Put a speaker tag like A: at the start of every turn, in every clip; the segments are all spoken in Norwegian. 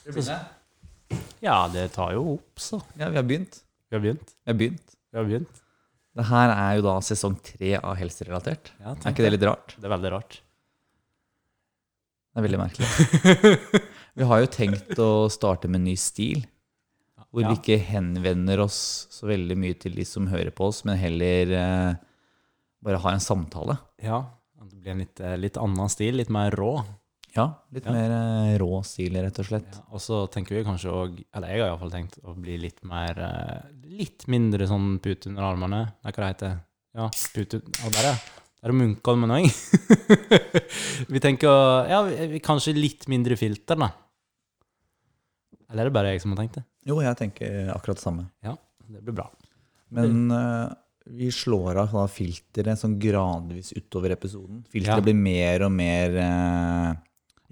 A: Skal vi begynne?
B: Ja, det tar jo opp, så.
A: Ja, vi har begynt.
B: Vi har begynt.
A: Vi har begynt.
B: Vi har begynt.
A: Det her er jo da sesong tre av Helserelatert.
B: Ja,
A: Er ikke det litt rart?
B: Det er veldig rart.
A: Det er veldig merkelig. Vi har jo tenkt å starte med en ny stil, hvor
B: Ja.
A: vi ikke henvender oss så veldig mye til de som hører på oss, men heller eh, bare ha en samtale.
B: Ja. Det blir en litt, eh, litt annen stil, litt mer rå.
A: Ja, litt
B: Ja.
A: mer eh, rå stil, rett og slett.
B: Ja, og så tenker vi kanskje òg, eller jeg har iallfall tenkt, å bli litt mer eh, Litt mindre sånn pute under armene. Nei, hva det heter det? Ja, pute ja, Der, ja. Der er Munkholmen òg. vi tenker å Ja, vi- vi- kanskje litt mindre filter, da. Eller er det bare jeg som har tenkt det?
A: Jo, jeg tenker akkurat det samme.
B: Ja, det blir bra.
A: Men eh, vi slår av da filteret sånn gradvis utover episoden. Filteret
B: Ja.
A: blir mer og mer eh,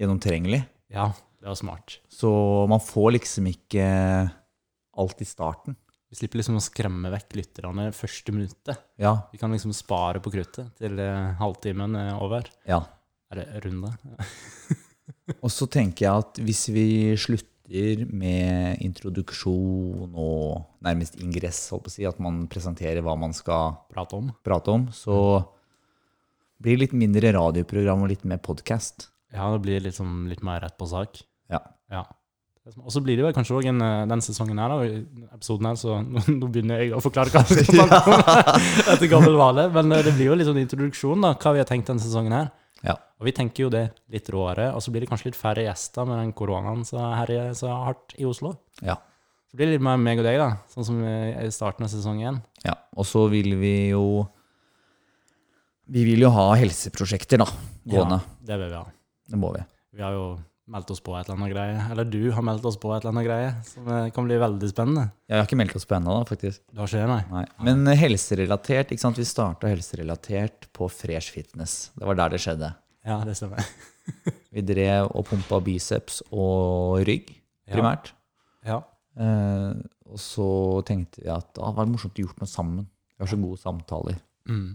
A: gjennomtrengelig.
B: Ja, det var smart.
A: Så man får liksom ikke alt i starten.
B: Vi slipper liksom å skremme vekk lytterne første minuttet.
A: Ja,
B: Vi kan liksom spare på kruttet til eh, halvtimen er over.
A: ja.
B: Er det runde?
A: Og så tenker jeg at hvis vi slutter med introduksjon og nærmest ingress, holdt på å si, at man presenterer hva man skal
B: Prate om?
A: prate om, så blir det litt mindre radioprogram og litt mer podkast.
B: Ja, det blir liksom litt mer rett på sak.
A: Ja.
B: Ja. Og så blir det vel kanskje òg en eh, den sesongen her, da, i episoden her, så nå, nå begynner jeg å forklare hva vi skal prate om etter gammel vale. Men eh, det blir jo litt sånn introduksjon, da, hva vi har tenkt denne sesongen her.
A: Ja.
B: Og vi tenker jo det litt råere, og så blir det kanskje litt færre gjester med den koronaen som herjer så hardt i Oslo.
A: Ja.
B: Så blir det litt mer meg og deg, da, sånn som eh, i starten av sesong én.
A: ja. Og så vil vi jo Vi vil jo ha helseprosjekter, da. Gående.
B: Ja, det vil vi ha.
A: Det må vi.
B: Vi har jo meldt oss på et eller annet greie. Eller du har meldt oss på et eller annet greie, som eh, kan bli veldig spennende.
A: Jeg har ikke meldt oss på ennå, da, faktisk.
B: Du har ikke det, nei?
A: Nei. Men eh, helserelatert, ikke sant? Vi starta helserelatert på Fresh Fitness. Det var der det skjedde.
B: Ja, det stemmer.
A: Vi drev og pumpa biceps og rygg,
B: Ja.
A: primært.
B: Ja.
A: Eh, og så tenkte vi at ah, det var morsomt å gjort noe sammen. Vi har så gode samtaler.
B: Mm.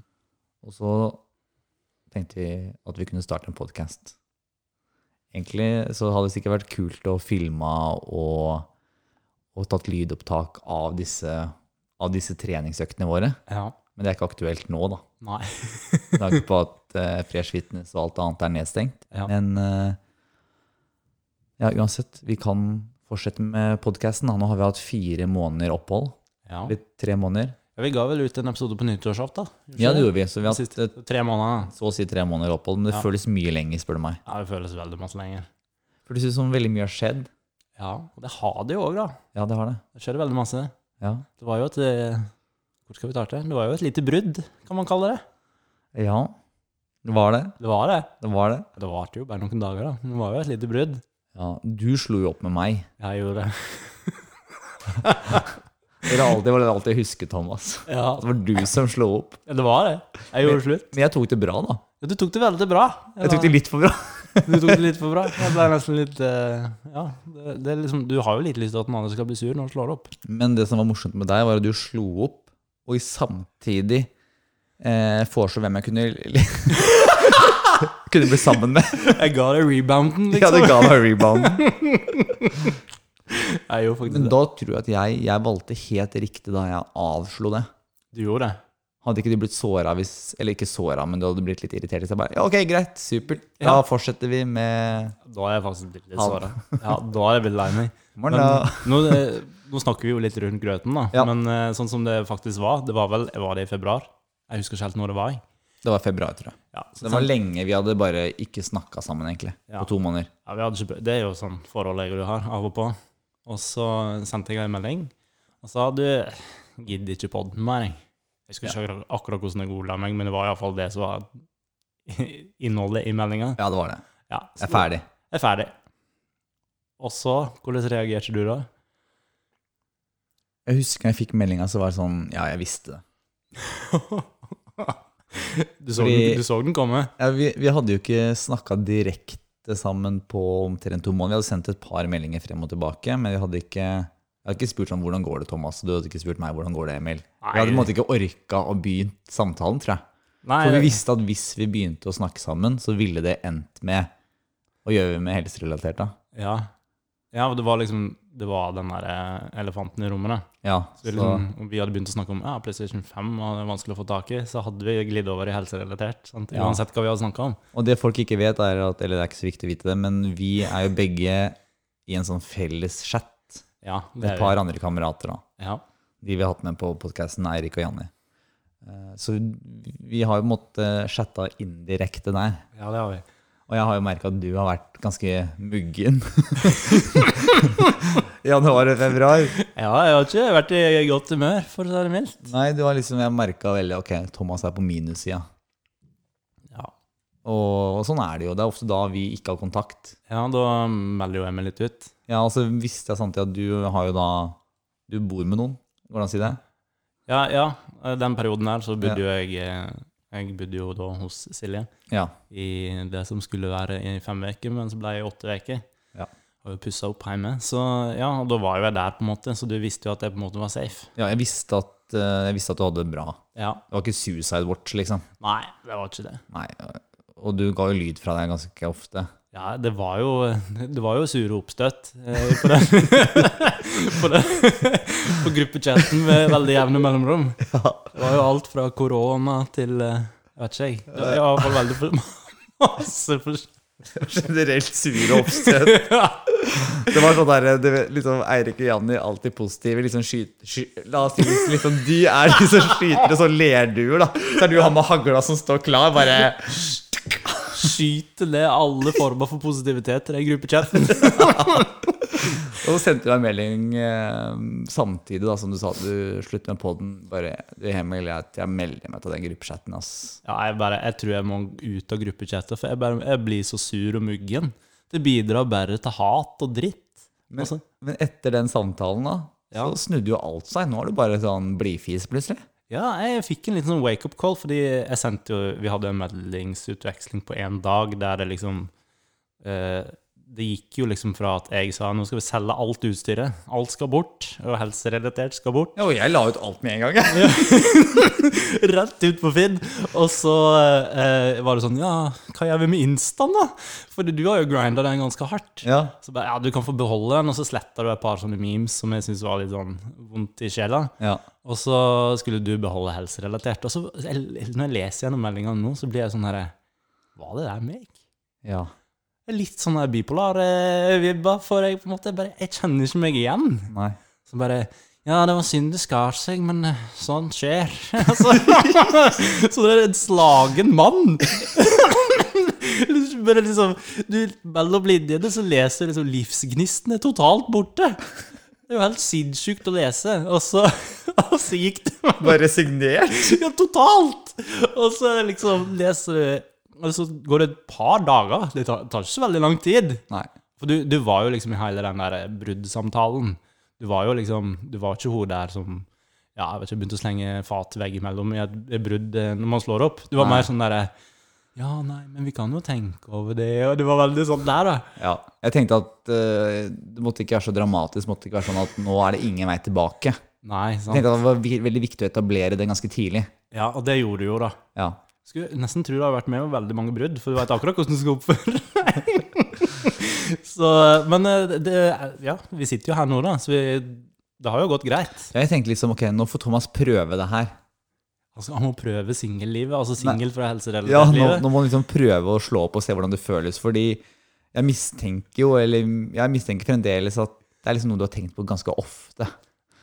A: Og så tenkte vi at vi kunne starte en podkast. Egentlig så hadde det sikkert vært kult å filme og, og tatt lydopptak av disse, av disse treningsøktene våre.
B: Ja.
A: Men det er ikke aktuelt nå, da.
B: Nei.
A: Med tanke på at eh, Fresh Fitness og alt annet er nedstengt.
B: Ja.
A: Men eh, ja, uansett, vi kan fortsette med podkasten. Nå har vi hatt fire måneder opphold.
B: Ja.
A: Eller tre måneder.
B: Ja, Vi ga vel ut en episode på nyttårsaften?
A: Ja, det gjorde vi. Så vi
B: Den
A: har hatt
B: siste
A: eh,
B: tre måneder.
A: så å si tre måneder opphold, men det
B: Ja.
A: føles mye lenger, spør du meg.
B: Ja, det føles veldig masse lenger.
A: For det synes som veldig mye har skjedd.
B: Ja, og det har det jo òg, da.
A: Ja, det har det.
B: Det skjer veldig masse.
A: Ja,
B: Det var jo et eh, Hvor skal vi starte? Det var jo et lite brudd, kan man kalle det.
A: ja. det var det.
B: Det var det.
A: Det var det.
B: Det varte jo bare noen dager, da. Men det var jo et lite brudd.
A: Ja, du slo jo opp med meg.
B: Jeg gjorde det.
A: Det var alltid, det var alltid jeg husker, Thomas.
B: Ja,
A: Det var du som slo opp.
B: det var det. Jeg gjorde slutt.
A: Men jeg tok det bra, da.
B: Ja, du tok det veldig bra.
A: Jeg tok det litt for bra.
B: Du tok det litt for bra. Jeg ble nesten litt eh, Ja, det, det er liksom, du har jo litt lyst til at den andre skal bli sur når han slår opp.
A: Men det som var morsomt med deg, var at du slo opp, og i samtidig eh, foreslå hvem jeg kunne Kunne bli sammen med.
B: Jeg ga deg rebounden,
A: Ja,
B: liksom.
A: det ga meg rebounden.
B: Jeg gjorde
A: Men
B: faktisk det.
A: da tror jeg at jeg, jeg valgte helt riktig da jeg avslo det.
B: Du gjorde det.
A: Hadde ikke du blitt såra hvis Eller ikke såra, men du hadde blitt litt irritert. Så jeg bare, ja, ok, greit, supert. Da
B: Ja.
A: fortsetter vi med
B: Da er jeg faktisk litt
A: Han.
B: såra. Ja, da er jeg veldig lei meg. Men
A: Morgen, da.
B: nå, eh, nå snakker vi jo litt rundt grøten, da.
A: Ja.
B: Men eh, sånn som det faktisk var Det var vel var det i februar? Jeg husker ikke helt når det var. jeg.
A: Det var februar, tror jeg.
B: Ja, så
A: Så det var lenge vi hadde bare ikke snakka sammen, egentlig.
B: Ja.
A: På to måneder.
B: Ja, vi hadde ikke, bø- det er jo sånn forhold jeg og du har, av og på. Og så sendte jeg en melding, og sa du gidder ikke podden mer. jeg». Jeg husker ikke akkurat- akkurat hvordan jeg ordla meg, men det var iallfall det som var innholdet i meldinga.
A: Ja, det var det.
B: Ja,
A: Jeg er ferdig.
B: Jeg er ferdig. Og så, hvordan reagerte du da?
A: Jeg husker jeg fikk meldinga, så var det sånn Ja, jeg visste det.
B: Du så,
A: Fordi-
B: den, du så den komme?
A: Ja, vi, vi hadde jo ikke snakka direkte sammen på omtrent to måneder. Vi hadde sendt et par meldinger frem og tilbake, men vi hadde ikke jeg hadde ikke spurt sånn, hvordan går det, Thomas. Du hadde ikke spurt meg hvordan går det, Emil. Vi hadde på en måte ikke orka å begynt samtalen, tror jeg.
B: Nei,
A: For vi visste at hvis vi begynte å snakke sammen, så ville det endt med Hva gjør vi med helserelatert, da?
B: Ja. Ja, og det var liksom Det var den der eh, elefanten i rommet. da.
A: Ja,
B: Så
A: så,
B: det er liksom, om vi hadde begynt å snakke om ja, PlayStation 5 og det er vanskelig å få tak i, så hadde vi glidd over i helserelatert. Sant?
A: Ja.
B: Uansett hva vi hadde snakka om.
A: og det folk ikke vet, er at Eller det er ikke så viktig å vite det, men vi er jo begge i en sånn felles chat
B: Ja,
A: med
B: det
A: et
B: er vi.
A: par andre kamerater. da.
B: Ja.
A: De vi har hatt med på podkasten, Eirik og Janni. Eh, Så vi har jo måttet chatta indirekte der.
B: ja, det har vi.
A: Og jeg har jo merka at du har vært ganske muggen. Januar og februar.
B: Ja, jeg har ikke vært i godt humør, for å si det mildt.
A: Nei, du har liksom, jeg merka veldig ok, Thomas er på minussida.
B: Ja.
A: Og, og sånn er det jo. Det er ofte da vi ikke har kontakt.
B: ja, da melder jo jeg meg litt ut.
A: Ja, og så visste jeg samtidig at du har jo da Du bor med noen, går det an å si det?
B: Ja, ja, den perioden her så bodde jo jeg eh, Jeg bodde jo da hos Silje
A: Ja.
B: i det som skulle være i fem uker, men så ble jeg i åtte uker.
A: Ja.
B: Og pussa opp hjemme. Så ja, og da var jo jeg der, på en måte, så du visste jo at jeg på en måte var safe.
A: ja jeg, visste at, eh, jeg visste at du hadde det bra.
B: Ja.
A: Det var ikke suicide watch, liksom.
B: Nei, det var ikke det.
A: Nei, eh, Og du ga jo lyd fra deg ganske ofte.
B: Ja, det var jo, det var jo sure oppstøt eh, på, den, på, den, på gruppechatten med veldig jevne mellomrom. Det var jo alt fra korona til eh, Jeg vet ikke, jeg. Det var i hvert fall veldig for, masse forskjell.
A: Generelt sure oppstøt. Det var sånn der, du vet, liksom, Eirik og Janni alltid positive. liksom skyt, sky, La oss si liksom, de er de som skyter, og så ler du, da. Så er du han med hagla som står klar, bare
B: Skyter ned alle former for positivitet i den gruppechatten.
A: Og så sendte du deg en melding eh, samtidig da, som du sa at du slutter med poden. Bare det hemmelige er at jeg melder meg til den gruppechatten, ass.
B: Ja, jeg, bare, jeg tror jeg må ut av gruppechatten, for jeg, bare, jeg blir så sur og muggen. Det bidrar bare til hat og dritt.
A: Men,
B: Altså.
A: men etter den samtalen, da, så snudde jo alt seg. Nå er du bare sånn blidfis, plutselig.
B: Ja, jeg fikk en liten sånn wake-up call, fordi jeg sendte jo Vi hadde en meldingsutveksling på én dag der det liksom eh, Det gikk jo liksom fra at jeg sa nå skal vi selge alt utstyret, alt skal bort, og helserelatert skal bort,
A: Ja, og jeg la ut alt med en gang, jeg.
B: rett ut på Finn. Og så eh, var det sånn Ja, hva gjør vi med Instaen, da? Fordi du har jo grinda den ganske hardt.
A: Ja.
B: Så bare, ja, du kan få beholde den, og så sletta du et par sånne memes som jeg syntes var litt sånn vondt i sjela.
A: ja.
B: Og så skulle du beholde helserelatert. Og så, jeg- når jeg leser gjennom meldingene nå, så blir jeg sånn herre Var det der meg?
A: ja.
B: Det er Litt sånn der bipolar eh, vibba, for jeg på en måte bare Jeg kjenner ikke meg igjen.
A: Nei.
B: Så bare Ja, det var synd det skar seg, men eh, sånn skjer. Altså, så det er en slagen mann. Bare liksom Du, mellom linjene så leser liksom livsgnisten er totalt borte. Det er jo helt sinnssykt å lese. Og så, og så gikk det
A: Bare resignert?
B: ja, totalt! Og så liksom leser du Og så går det et par dager. Det tar, tar ikke så veldig lang tid.
A: Nei.
B: For du, du var jo liksom i hele den der bruddsamtalen. Du var jo liksom Du var ikke hun der som ja, jeg vet ikke, begynte å slenge fat veggimellom i et et brudd eh, når man slår opp. Du var
A: Nei.
B: mer sånn derre Ja, nei, men vi kan jo tenke over det, og det var veldig sånn der, da.
A: Ja. Jeg tenkte at eh, det måtte ikke være så dramatisk. måtte ikke være sånn at nå er det ingen vei tilbake. Jeg
B: Nei, sant.
A: tenkte at Det var vi- veldig viktig å etablere det ganske tidlig.
B: Ja, og det gjorde du jo, da.
A: Ja.
B: Skulle nesten tro du har vært med om veldig mange brudd, for du veit akkurat hvordan du skal oppføre deg. så, men eh, det, ja, vi sitter jo her nå, da, så vi, det har jo gått greit.
A: Jeg tenkte liksom, ok, nå får Thomas prøve det her.
B: Altså, han må prøve singellivet, altså singel fra
A: Ja,
B: helserelatert
A: nå,
B: livet.
A: nå må han liksom prøve å slå opp og se hvordan det føles. Fordi jeg mistenker jo, eller jeg mistenker fremdeles at det er liksom noe du har tenkt på ganske ofte.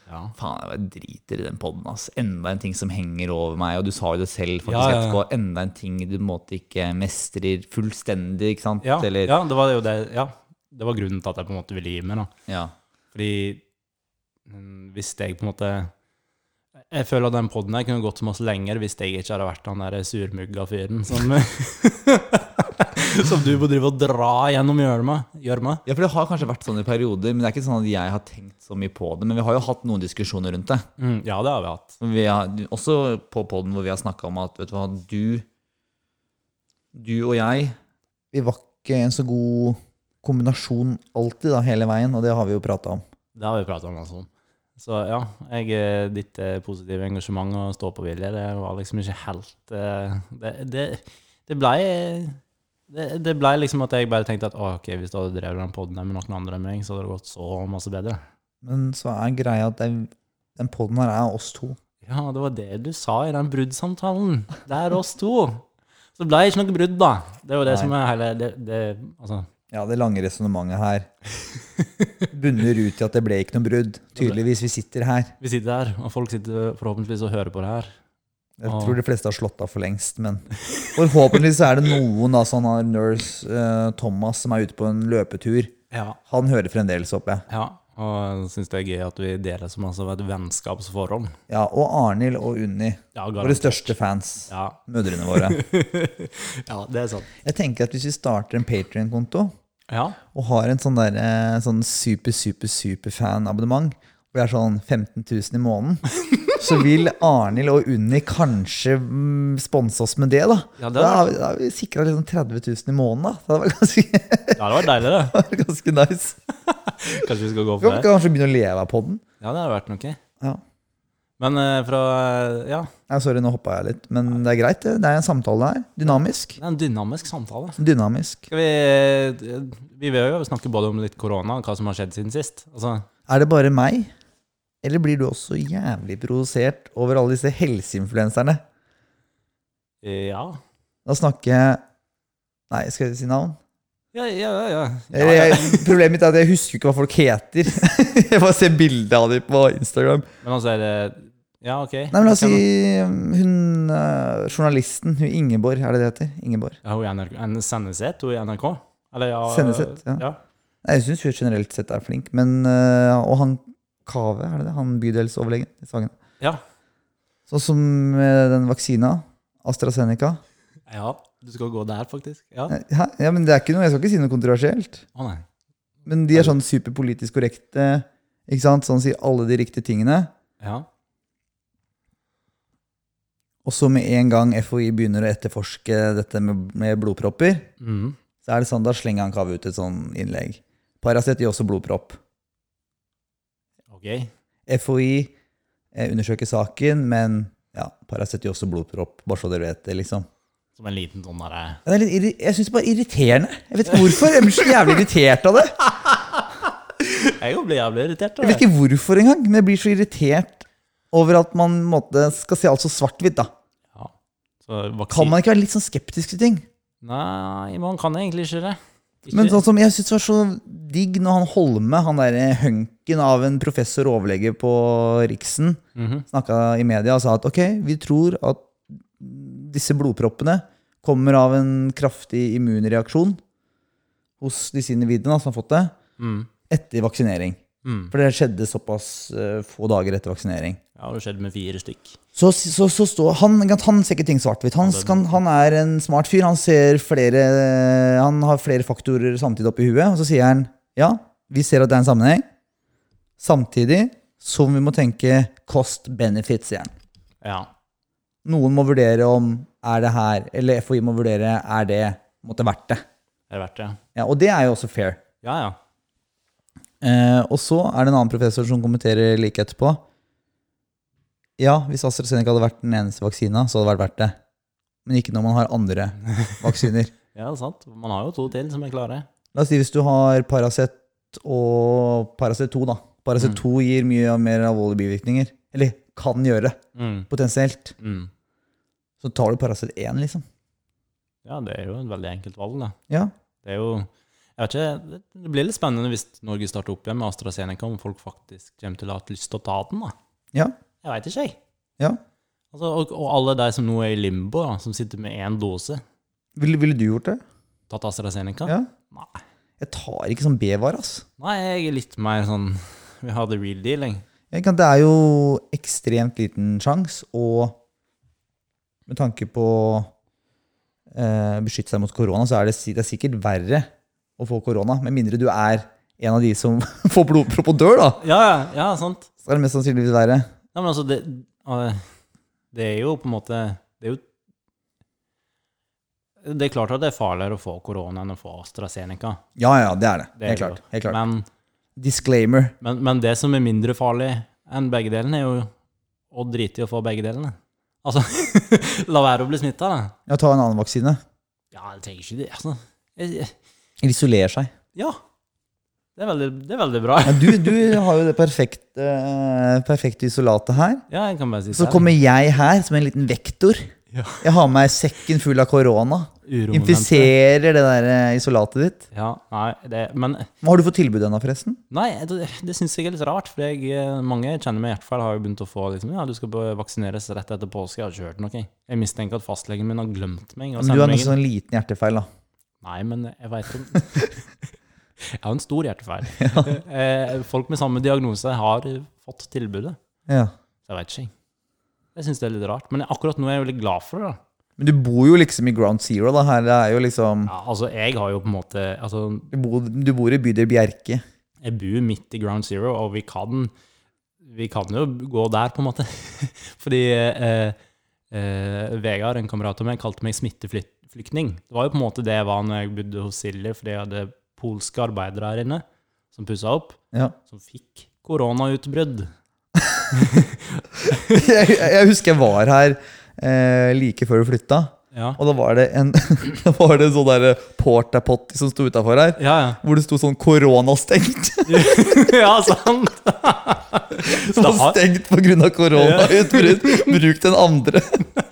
B: Ja.
A: Faen, jeg driter i den podden, ass. Enda en ting som henger over meg. Og du sa jo det selv faktisk
B: Ja, ja, ja.
A: etterpå. Enda en ting du på en måte ikke mestrer fullstendig, ikke sant?
B: Ja,
A: eller,
B: ja, det var jo det. Ja, det var grunnen til at jeg på en måte ville gi meg, da.
A: ja.
B: Fordi mm, hvis jeg på en måte Jeg føler at den poden her kunne gått så masse lenger hvis jeg ikke hadde vært han der surmugga fyren som Som du må drive og dra gjennom gjørma. gjørma.
A: Ja, for det har kanskje vært sånn i perioder, men det er ikke sånn at jeg har tenkt så mye på det. Men vi har jo hatt noen diskusjoner rundt det.
B: Mm, ja, det har vi hatt.
A: Vi har, også på poden hvor vi har snakka om at vet du hva, du Du og jeg Vi var ikke en så god kombinasjon alltid, da, hele veien, og det har vi jo prata om.
B: Det har vi prata om. altså. Så ja, jeg, eh, ditt eh, positive engasjement og stå-på-vilje, det var liksom ikke helt eh, Det, det, det blei det, det ble liksom at jeg bare tenkte at «Å, ok, hvis du hadde drevet den podden her med noen andre enn meg, så hadde det gått så masse bedre.
A: Men så er greia at den, den poden her er oss to.
B: Ja, det var det du sa i den bruddsamtalen. Det er oss to. Så det ble ikke noe brudd, da. Det er jo det
A: Nei.
B: som er hele det, det, altså,
A: Ja, det lange resonnementet her bunner ut i at det ble ikke noe brudd. Tydeligvis, vi sitter her.
B: Vi sitter her, og folk sitter forhåpentligvis og hører på det her.
A: Jeg
B: Ah.
A: tror de fleste har slått av for lengst, men forhåpentligvis er det noen da, sånn her nurse eh, Thomas som er ute på en løpetur.
B: Ja.
A: Han hører fremdeles, håper jeg.
B: ja. Og jeg syns det er gøy at vi deler så masse av et vennskapsforhold.
A: Ja, og Arnhild og Unni.
B: Ja,
A: Våre
B: garantert.
A: største fans.
B: Ja.
A: Mødrene våre.
B: ja, det er sant.
A: Jeg tenker at hvis vi starter en Patrion-konto
B: Ja.
A: og har en sånn, der, eh, sånn super, super, superfan-abonnement, hvor det er sånn 15 000 i måneden, så vil Arnhild og Unni kanskje mm, sponse oss med det, da.
B: Ja, det
A: Da
B: hadde
A: har vi, da har vi sikra liksom 30 000 i måneden, da. Det hadde vært ganske,
B: Ja, det var deilig, det.
A: det hadde vært ganske nice.
B: Kanskje vi skal gå
A: Vi
B: for
A: kan
B: det?
A: kanskje begynne å leve av podden.
B: Ja, det hadde vært noe.
A: Ja.
B: Men eh, fra eh, Ja,
A: Nei, sorry, nå hoppa jeg litt, men det er greit. Det Det er en samtale her. Dynamisk.
B: det er en dynamisk samtale.
A: Dynamisk.
B: Skal vi eh, Vi vil jo snakke både om litt korona og hva som har skjedd siden sist. Altså,
A: Er det bare meg? Eller blir du også jævlig provosert over alle disse helseinfluenserne?
B: eh, ja.
A: Da snakker jeg Nei, skal jeg si navn?
B: Ja, ja, ja. ja.
A: Eller Jeg, problemet mitt er at jeg husker ikke hva folk heter. jeg bare ser bildet av dem på Instagram.
B: Men altså er det Ja, ok.
A: Nei, men La oss si
B: Hvem-
A: um, hun eh, journalisten. Hun Ingeborg, er det det heter? Ingeborg.
B: Ja, hun i NRK. En Senneset, hun i NRK? Eller ja øh,
A: Senneset, ja.
B: ja.
A: Nei, Jeg syns hun generelt sett er flink, men eh, Og han Kave, er det det? Han bydelsoverlegen i Sagen.
B: Ja.
A: Sånn som eh, den vaksina. AstraZeneca.
B: Ja, du skal gå der, faktisk. Ja. Å
A: Hæ? Ja, men det er ikke noe, Jeg skal ikke si noe kontroversielt.
B: nei.
A: Men de er sånn superpolitisk korrekte. Ikke sant? Sånn sier alle de riktige tingene.
B: Ja.
A: Og så med en gang FHI begynner å etterforske dette med, med blodpropper,
B: Mhm.
A: så er det sånn, da slenger han Kaveh ut et sånn innlegg. Paracet gir også blodpropp.
B: Ok.
A: FHI eh, undersøker saken, men ja, Paracet gir også blodpropp, bare så dere vet det, liksom.
B: Som en liten sånn derre
A: Det er litt, irri- jeg syns det er bare irriterende. Jeg vet ikke hvorfor. Jeg blir så jævlig irritert av det.
B: Jeg jo blir jævlig irritert.
A: Jeg vet ikke hvorfor engang, men jeg blir så irritert over at man på en måte, skal se alt så svart-hvitt, da.
B: Ja. Så
A: Kan
B: vaksine
A: man ikke være litt sånn skeptisk til ting?
B: Nei, man kan egentlig ikke det. Ikke-
A: Men sånn som jeg syns var så digg når han Holme, han derre hunken av en professor og overlege på Riksen,
B: Mhm.
A: snakka i media og sa at ok, vi tror at disse blodproppene kommer av en kraftig immunreaksjon hos disse individene da, som har fått det,
B: Mm.
A: etter vaksinering.
B: Mm.
A: For det skjedde såpass eh, få dager etter vaksinering.
B: Ja, det har skjedd med fire stykk.
A: Så, så, så står han, han ser ikke ting svart-hvitt. Han, skal- han er en smart fyr. Han, ser flere, han har flere faktorer samtidig oppi huet. Og så sier han ja, vi ser at det er en sammenheng. Samtidig som vi må tenke cost benefit, sier han.
B: Ja.
A: Noen må vurdere om er det her, eller FHI må vurdere er det måtte vært det.
B: Det er verdt det.
A: Ja, og det er jo også fair.
B: Ja, ja.
A: Eh, og så er det en annen professor som kommenterer like etterpå. Ja, hvis AstraZeneca hadde vært den eneste vaksina, så hadde det vært verdt det. Men ikke når man har andre vaksiner.
B: Ja, det er sant. Man har jo to til som er klare.
A: La oss si hvis du har Paracet og Paracet 2, da. Paracet 2 gir mye mer alvorlige bivirkninger. Eller kan gjøre,
B: Mm.
A: potensielt.
B: Mm.
A: Så tar du Paracet 1, liksom.
B: Ja, det er jo et veldig enkelt valg, da.
A: Ja.
B: Det er jo jeg vet ikke, det- Det blir litt spennende hvis Norge starter opp igjen med AstraZeneca, om folk faktisk kommer til å ha hatt lyst til å ta den. da.
A: Ja.
B: Jeg veit ikke, jeg.
A: Ja.
B: Altså, og, og alle de som nå er i limbo, da, som sitter med én dose,
A: Ville, ville du gjort det?
B: tatt AstraZeneca?
A: Ja.
B: Nei.
A: Jeg tar ikke sånn B-var, ass.
B: Nei, jeg er litt mer sånn Vi har the real deal, jeg.
A: Ikke sant, Det er jo ekstremt liten sjans, og med tanke på eh, beskytte seg mot korona, så er det, si- det er sikkert verre å få korona, med mindre du er en av de som får blodpropp og dør, da.
B: Ja, ja, ja, sant.
A: Så er det mest sannsynligvis verre.
B: Nei, men altså, det, øh, det er jo på en måte Det er jo Det er klart at det er farligere å få korona enn å få AstraZeneca.
A: Ja, ja, det er det.
B: Det er det
A: helt
B: jo.
A: klart. Helt klart.
B: Men,
A: Disclaimer.
B: men, men det som er mindre farlig enn begge delene, er jo å drite i å få begge delene. Altså, la være å bli smitta, da.
A: Ja, ta en annen vaksine.
B: Ja, jeg trenger ikke det, altså. Jeg, jeg,
A: Det isolerer seg.
B: ja. Det er veldig, det er veldig bra.
A: Ja, du, du har jo det perfekte, eh, perfekte isolatet her.
B: Ja, jeg kan bare si
A: Så kommer jeg her som en liten vektor.
B: Ja.
A: Jeg har med meg sekken full av korona.
B: Uromomentet.
A: Infiserer det der eh, isolatet ditt.
B: Ja, nei, det, men
A: Hva Har du fått tilbud ennå, forresten?
B: Nei, det, det syns jeg er litt rart, for jeg, eh, mange jeg kjenner med hjertefeil har jo begynt å få liksom, ja, du skal bare vaksineres rett etter påske. Jeg har ikke hørt noe. jeg. Jeg mistenker at fastlegen min har glemt meg. Og
A: Men du har
B: sender meg
A: nesten
B: en...
A: sånn liten hjertefeil, da.
B: Nei, men jeg veit om Jeg har en stor hjertefeil. Eh, Folk med samme diagnose har fått tilbudet.
A: Ja.
B: Så jeg veit ikke. jeg. Jeg syns det er litt rart. Men akkurat nå er jeg veldig glad for det. da.
A: Men du bor jo liksom i ground zero, da. Her er jo liksom
B: Ja, altså, jeg har jo på en måte altså,
A: Du bor, du bor i bydel Bjerke.
B: Jeg bor midt i ground zero, og vi kan, vi kan jo gå der, på en måte. Fordi eh, eh, Vegard, en kamerat av meg, kalte meg smitteflyktning. Det var jo på en måte det jeg var når jeg bodde hos Silje, fordi jeg hadde polske arbeidere her inne som pussa opp,
A: Ja.
B: som fikk koronautbrudd.
A: Jeg, jeg husker jeg var her eh, like før du flytta,
B: Ja,
A: og da var det en Da var det en sånn derre portapotty som sto utafor her.
B: ja. ja.
A: Hvor det sto sånn 'koronastengt'.
B: ja sant! Så det
A: Sånn
B: har,
A: stengt pga. koronautbrudd. Bruk den andre.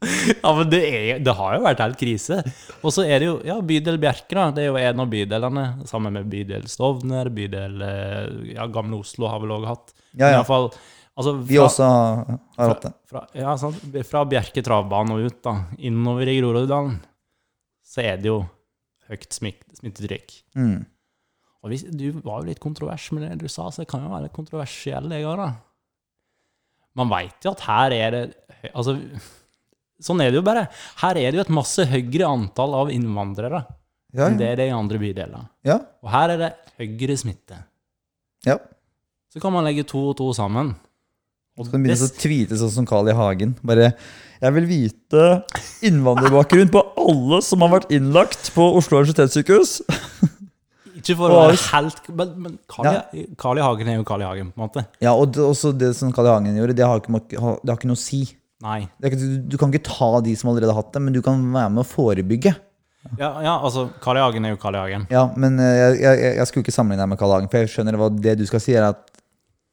B: Ja, men det, er, det har jo vært helt krise. Og så er det jo ja, bydel Bjerke, da. Det er jo en av bydelene, sammen med bydel Stovner, bydel eh, ja, Gamle Oslo har vel òg hatt.
A: Ja,
B: Men i
A: ja.
B: hvert fall, altså, fra,
A: Vi også har har hatt det.
B: Fra, ja, sant? fra Bjerke travbane og ut, da, innover i Groruddalen, så er det jo høyt smik- smittetrykk.
A: Mm.
B: Og hvis, du var jo litt kontrovers med det du sa, så jeg kan jo være litt kontroversiell, jeg òg, da. Man veit jo at her er det Altså, sånn er det jo bare. Her er det jo et masse høyere antall av innvandrere
A: Ja,
B: enn det
A: ja.
B: er det i andre bydeler.
A: ja.
B: Og her er det høyere smitte.
A: ja.
B: Så kan man legge to og to sammen. Og
A: Så kan du begynne
B: det-
A: å tweete sånn som Carl I. Hagen. Bare 'Jeg vil vite innvandrerbakgrunn på alle som har vært innlagt på Oslo universitetssykehus'.
B: ikke for å
A: Åh,
B: være helt Men, men Carl, I- Carl I. Hagen er jo Carl I. Hagen, på en måte.
A: Ja, og det, også det som Carl I. Hagen gjorde, det har ikke, mak- ha- det har ikke noe å si.
B: Nei.
A: Det er ikke, du, du kan ikke ta de som allerede har hatt det, men du kan være med å forebygge.
B: Ja, ja altså, Carl I. Hagen er jo Carl I. Hagen.
A: Ja, men eh, jeg, jeg, jeg skulle ikke sammenligne deg med Carl I. Hagen, for jeg skjønner hva det du skal si, er at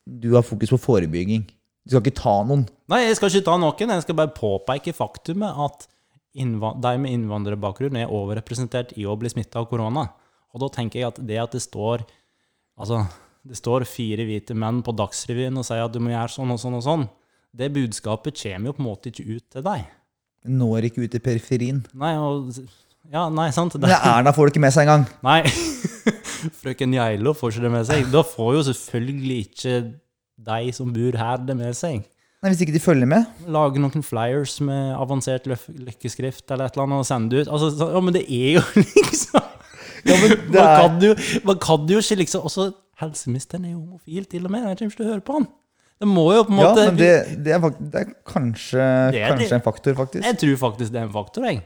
A: du har fokus på forebygging. Du skal ikke ta noen.
B: Nei, jeg skal ikke ta noen. Jeg skal bare påpeke faktumet at innva- de med innvandrerbakgrunn er overrepresentert i å bli smitta av korona. Og da tenker jeg at det at det står Altså, det står fire hvite menn på Dagsrevyen og sier at du må gjøre sånn og sånn og sånn. Det budskapet kommer jo på en måte ikke ut til deg.
A: Når ikke ut i periferien.
B: Nei, og Ja, nei, sant? Det,
A: Men Erna får det ikke med seg engang.
B: Nei. Frøken Geilo får ikke det med seg. Da får jo selvfølgelig ikke de som bor her, det med seg.
A: Nei, Hvis ikke de følger med.
B: lage noen flyers med avansert løf- løkkeskrift eller et eller annet og sende ut. Altså, så, ja, men det er jo liksom
A: det
B: man,
A: er-
B: kan jo, man kan jo ikke liksom Også helseministeren er jo homofil, til og med. Jeg kommer ikke til å høre på han. Det må jo på en
A: Ja,
B: måte
A: men det, det, er, fakt- det er
B: Det
A: kanskje,
B: er det.
A: kanskje en faktor, faktisk.
B: Jeg tror faktisk det er en faktor, jeg.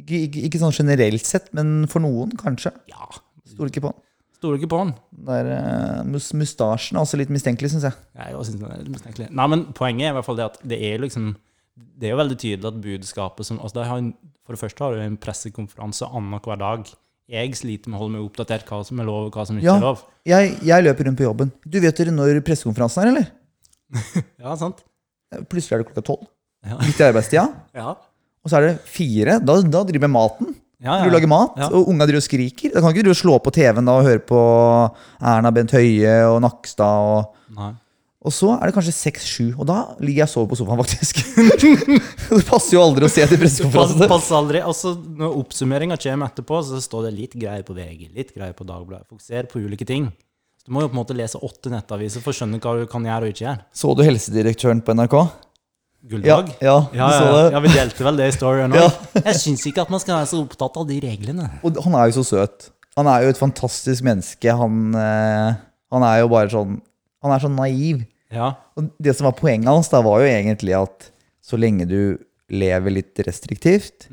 A: Ikke, ikke, ikke sånn generelt sett, men for noen, kanskje.
B: Ja.
A: Stoler ikke på den.
B: Stoler ikke på han.
A: Der, eh, mus- Mustasjen er også litt mistenkelig, syns jeg.
B: Jeg også synes det er litt mistenkelig. Nei, men poenget er i hvert fall det at det er liksom Det er jo veldig tydelig at budskapet som altså det har, en- For det første har du en pressekonferanse annenhver dag. Jeg sliter med å holde meg oppdatert hva som er lov, og hva som ikke
A: Ja.
B: er lov.
A: Jeg, jeg løper rundt på jobben. Du vet dere når pressekonferansen er, eller?
B: Ja, sant?
A: Plutselig er det klokka tolv.
B: Ja.
A: Midt i arbeidstida.
B: Ja.
A: Og så er det fire. Da, da driver jeg med maten.
B: Ja, ja.
A: Du lager mat,
B: Ja.
A: og unga driver og skriker. Da kan ikke du slå på TV-en da og høre på Erna Bent Høie og Nakstad og
B: Nei.
A: Og så er det kanskje seks-sju, og da ligger jeg og sover på sofaen, faktisk. det passer jo aldri å se til
B: Pass,
A: pressekonferanse.
B: pass aldri. Altså, når oppsummeringa kommer etterpå, så står det litt greier på VG, litt greier på Dagbladet. Fokuser på ulike ting. Så du må jo på en måte lese åtte nettaviser for å skjønne hva du kan gjøre og ikke gjøre.
A: Så du helsedirektøren på NRK? Ja,
B: Gulldag?
A: ja, du
B: Ja,
A: så
B: ja,
A: det.
B: ja, vi delte vel det i storyen
A: Ja.
B: òg. Jeg syns ikke at man skal være så opptatt av de reglene.
A: Og han er jo så søt. Han er jo et fantastisk menneske. Han, eh, han er jo bare sånn Han er sånn naiv.
B: Ja,
A: Og det som var poenget hans, da, var jo egentlig at så lenge du lever litt restriktivt,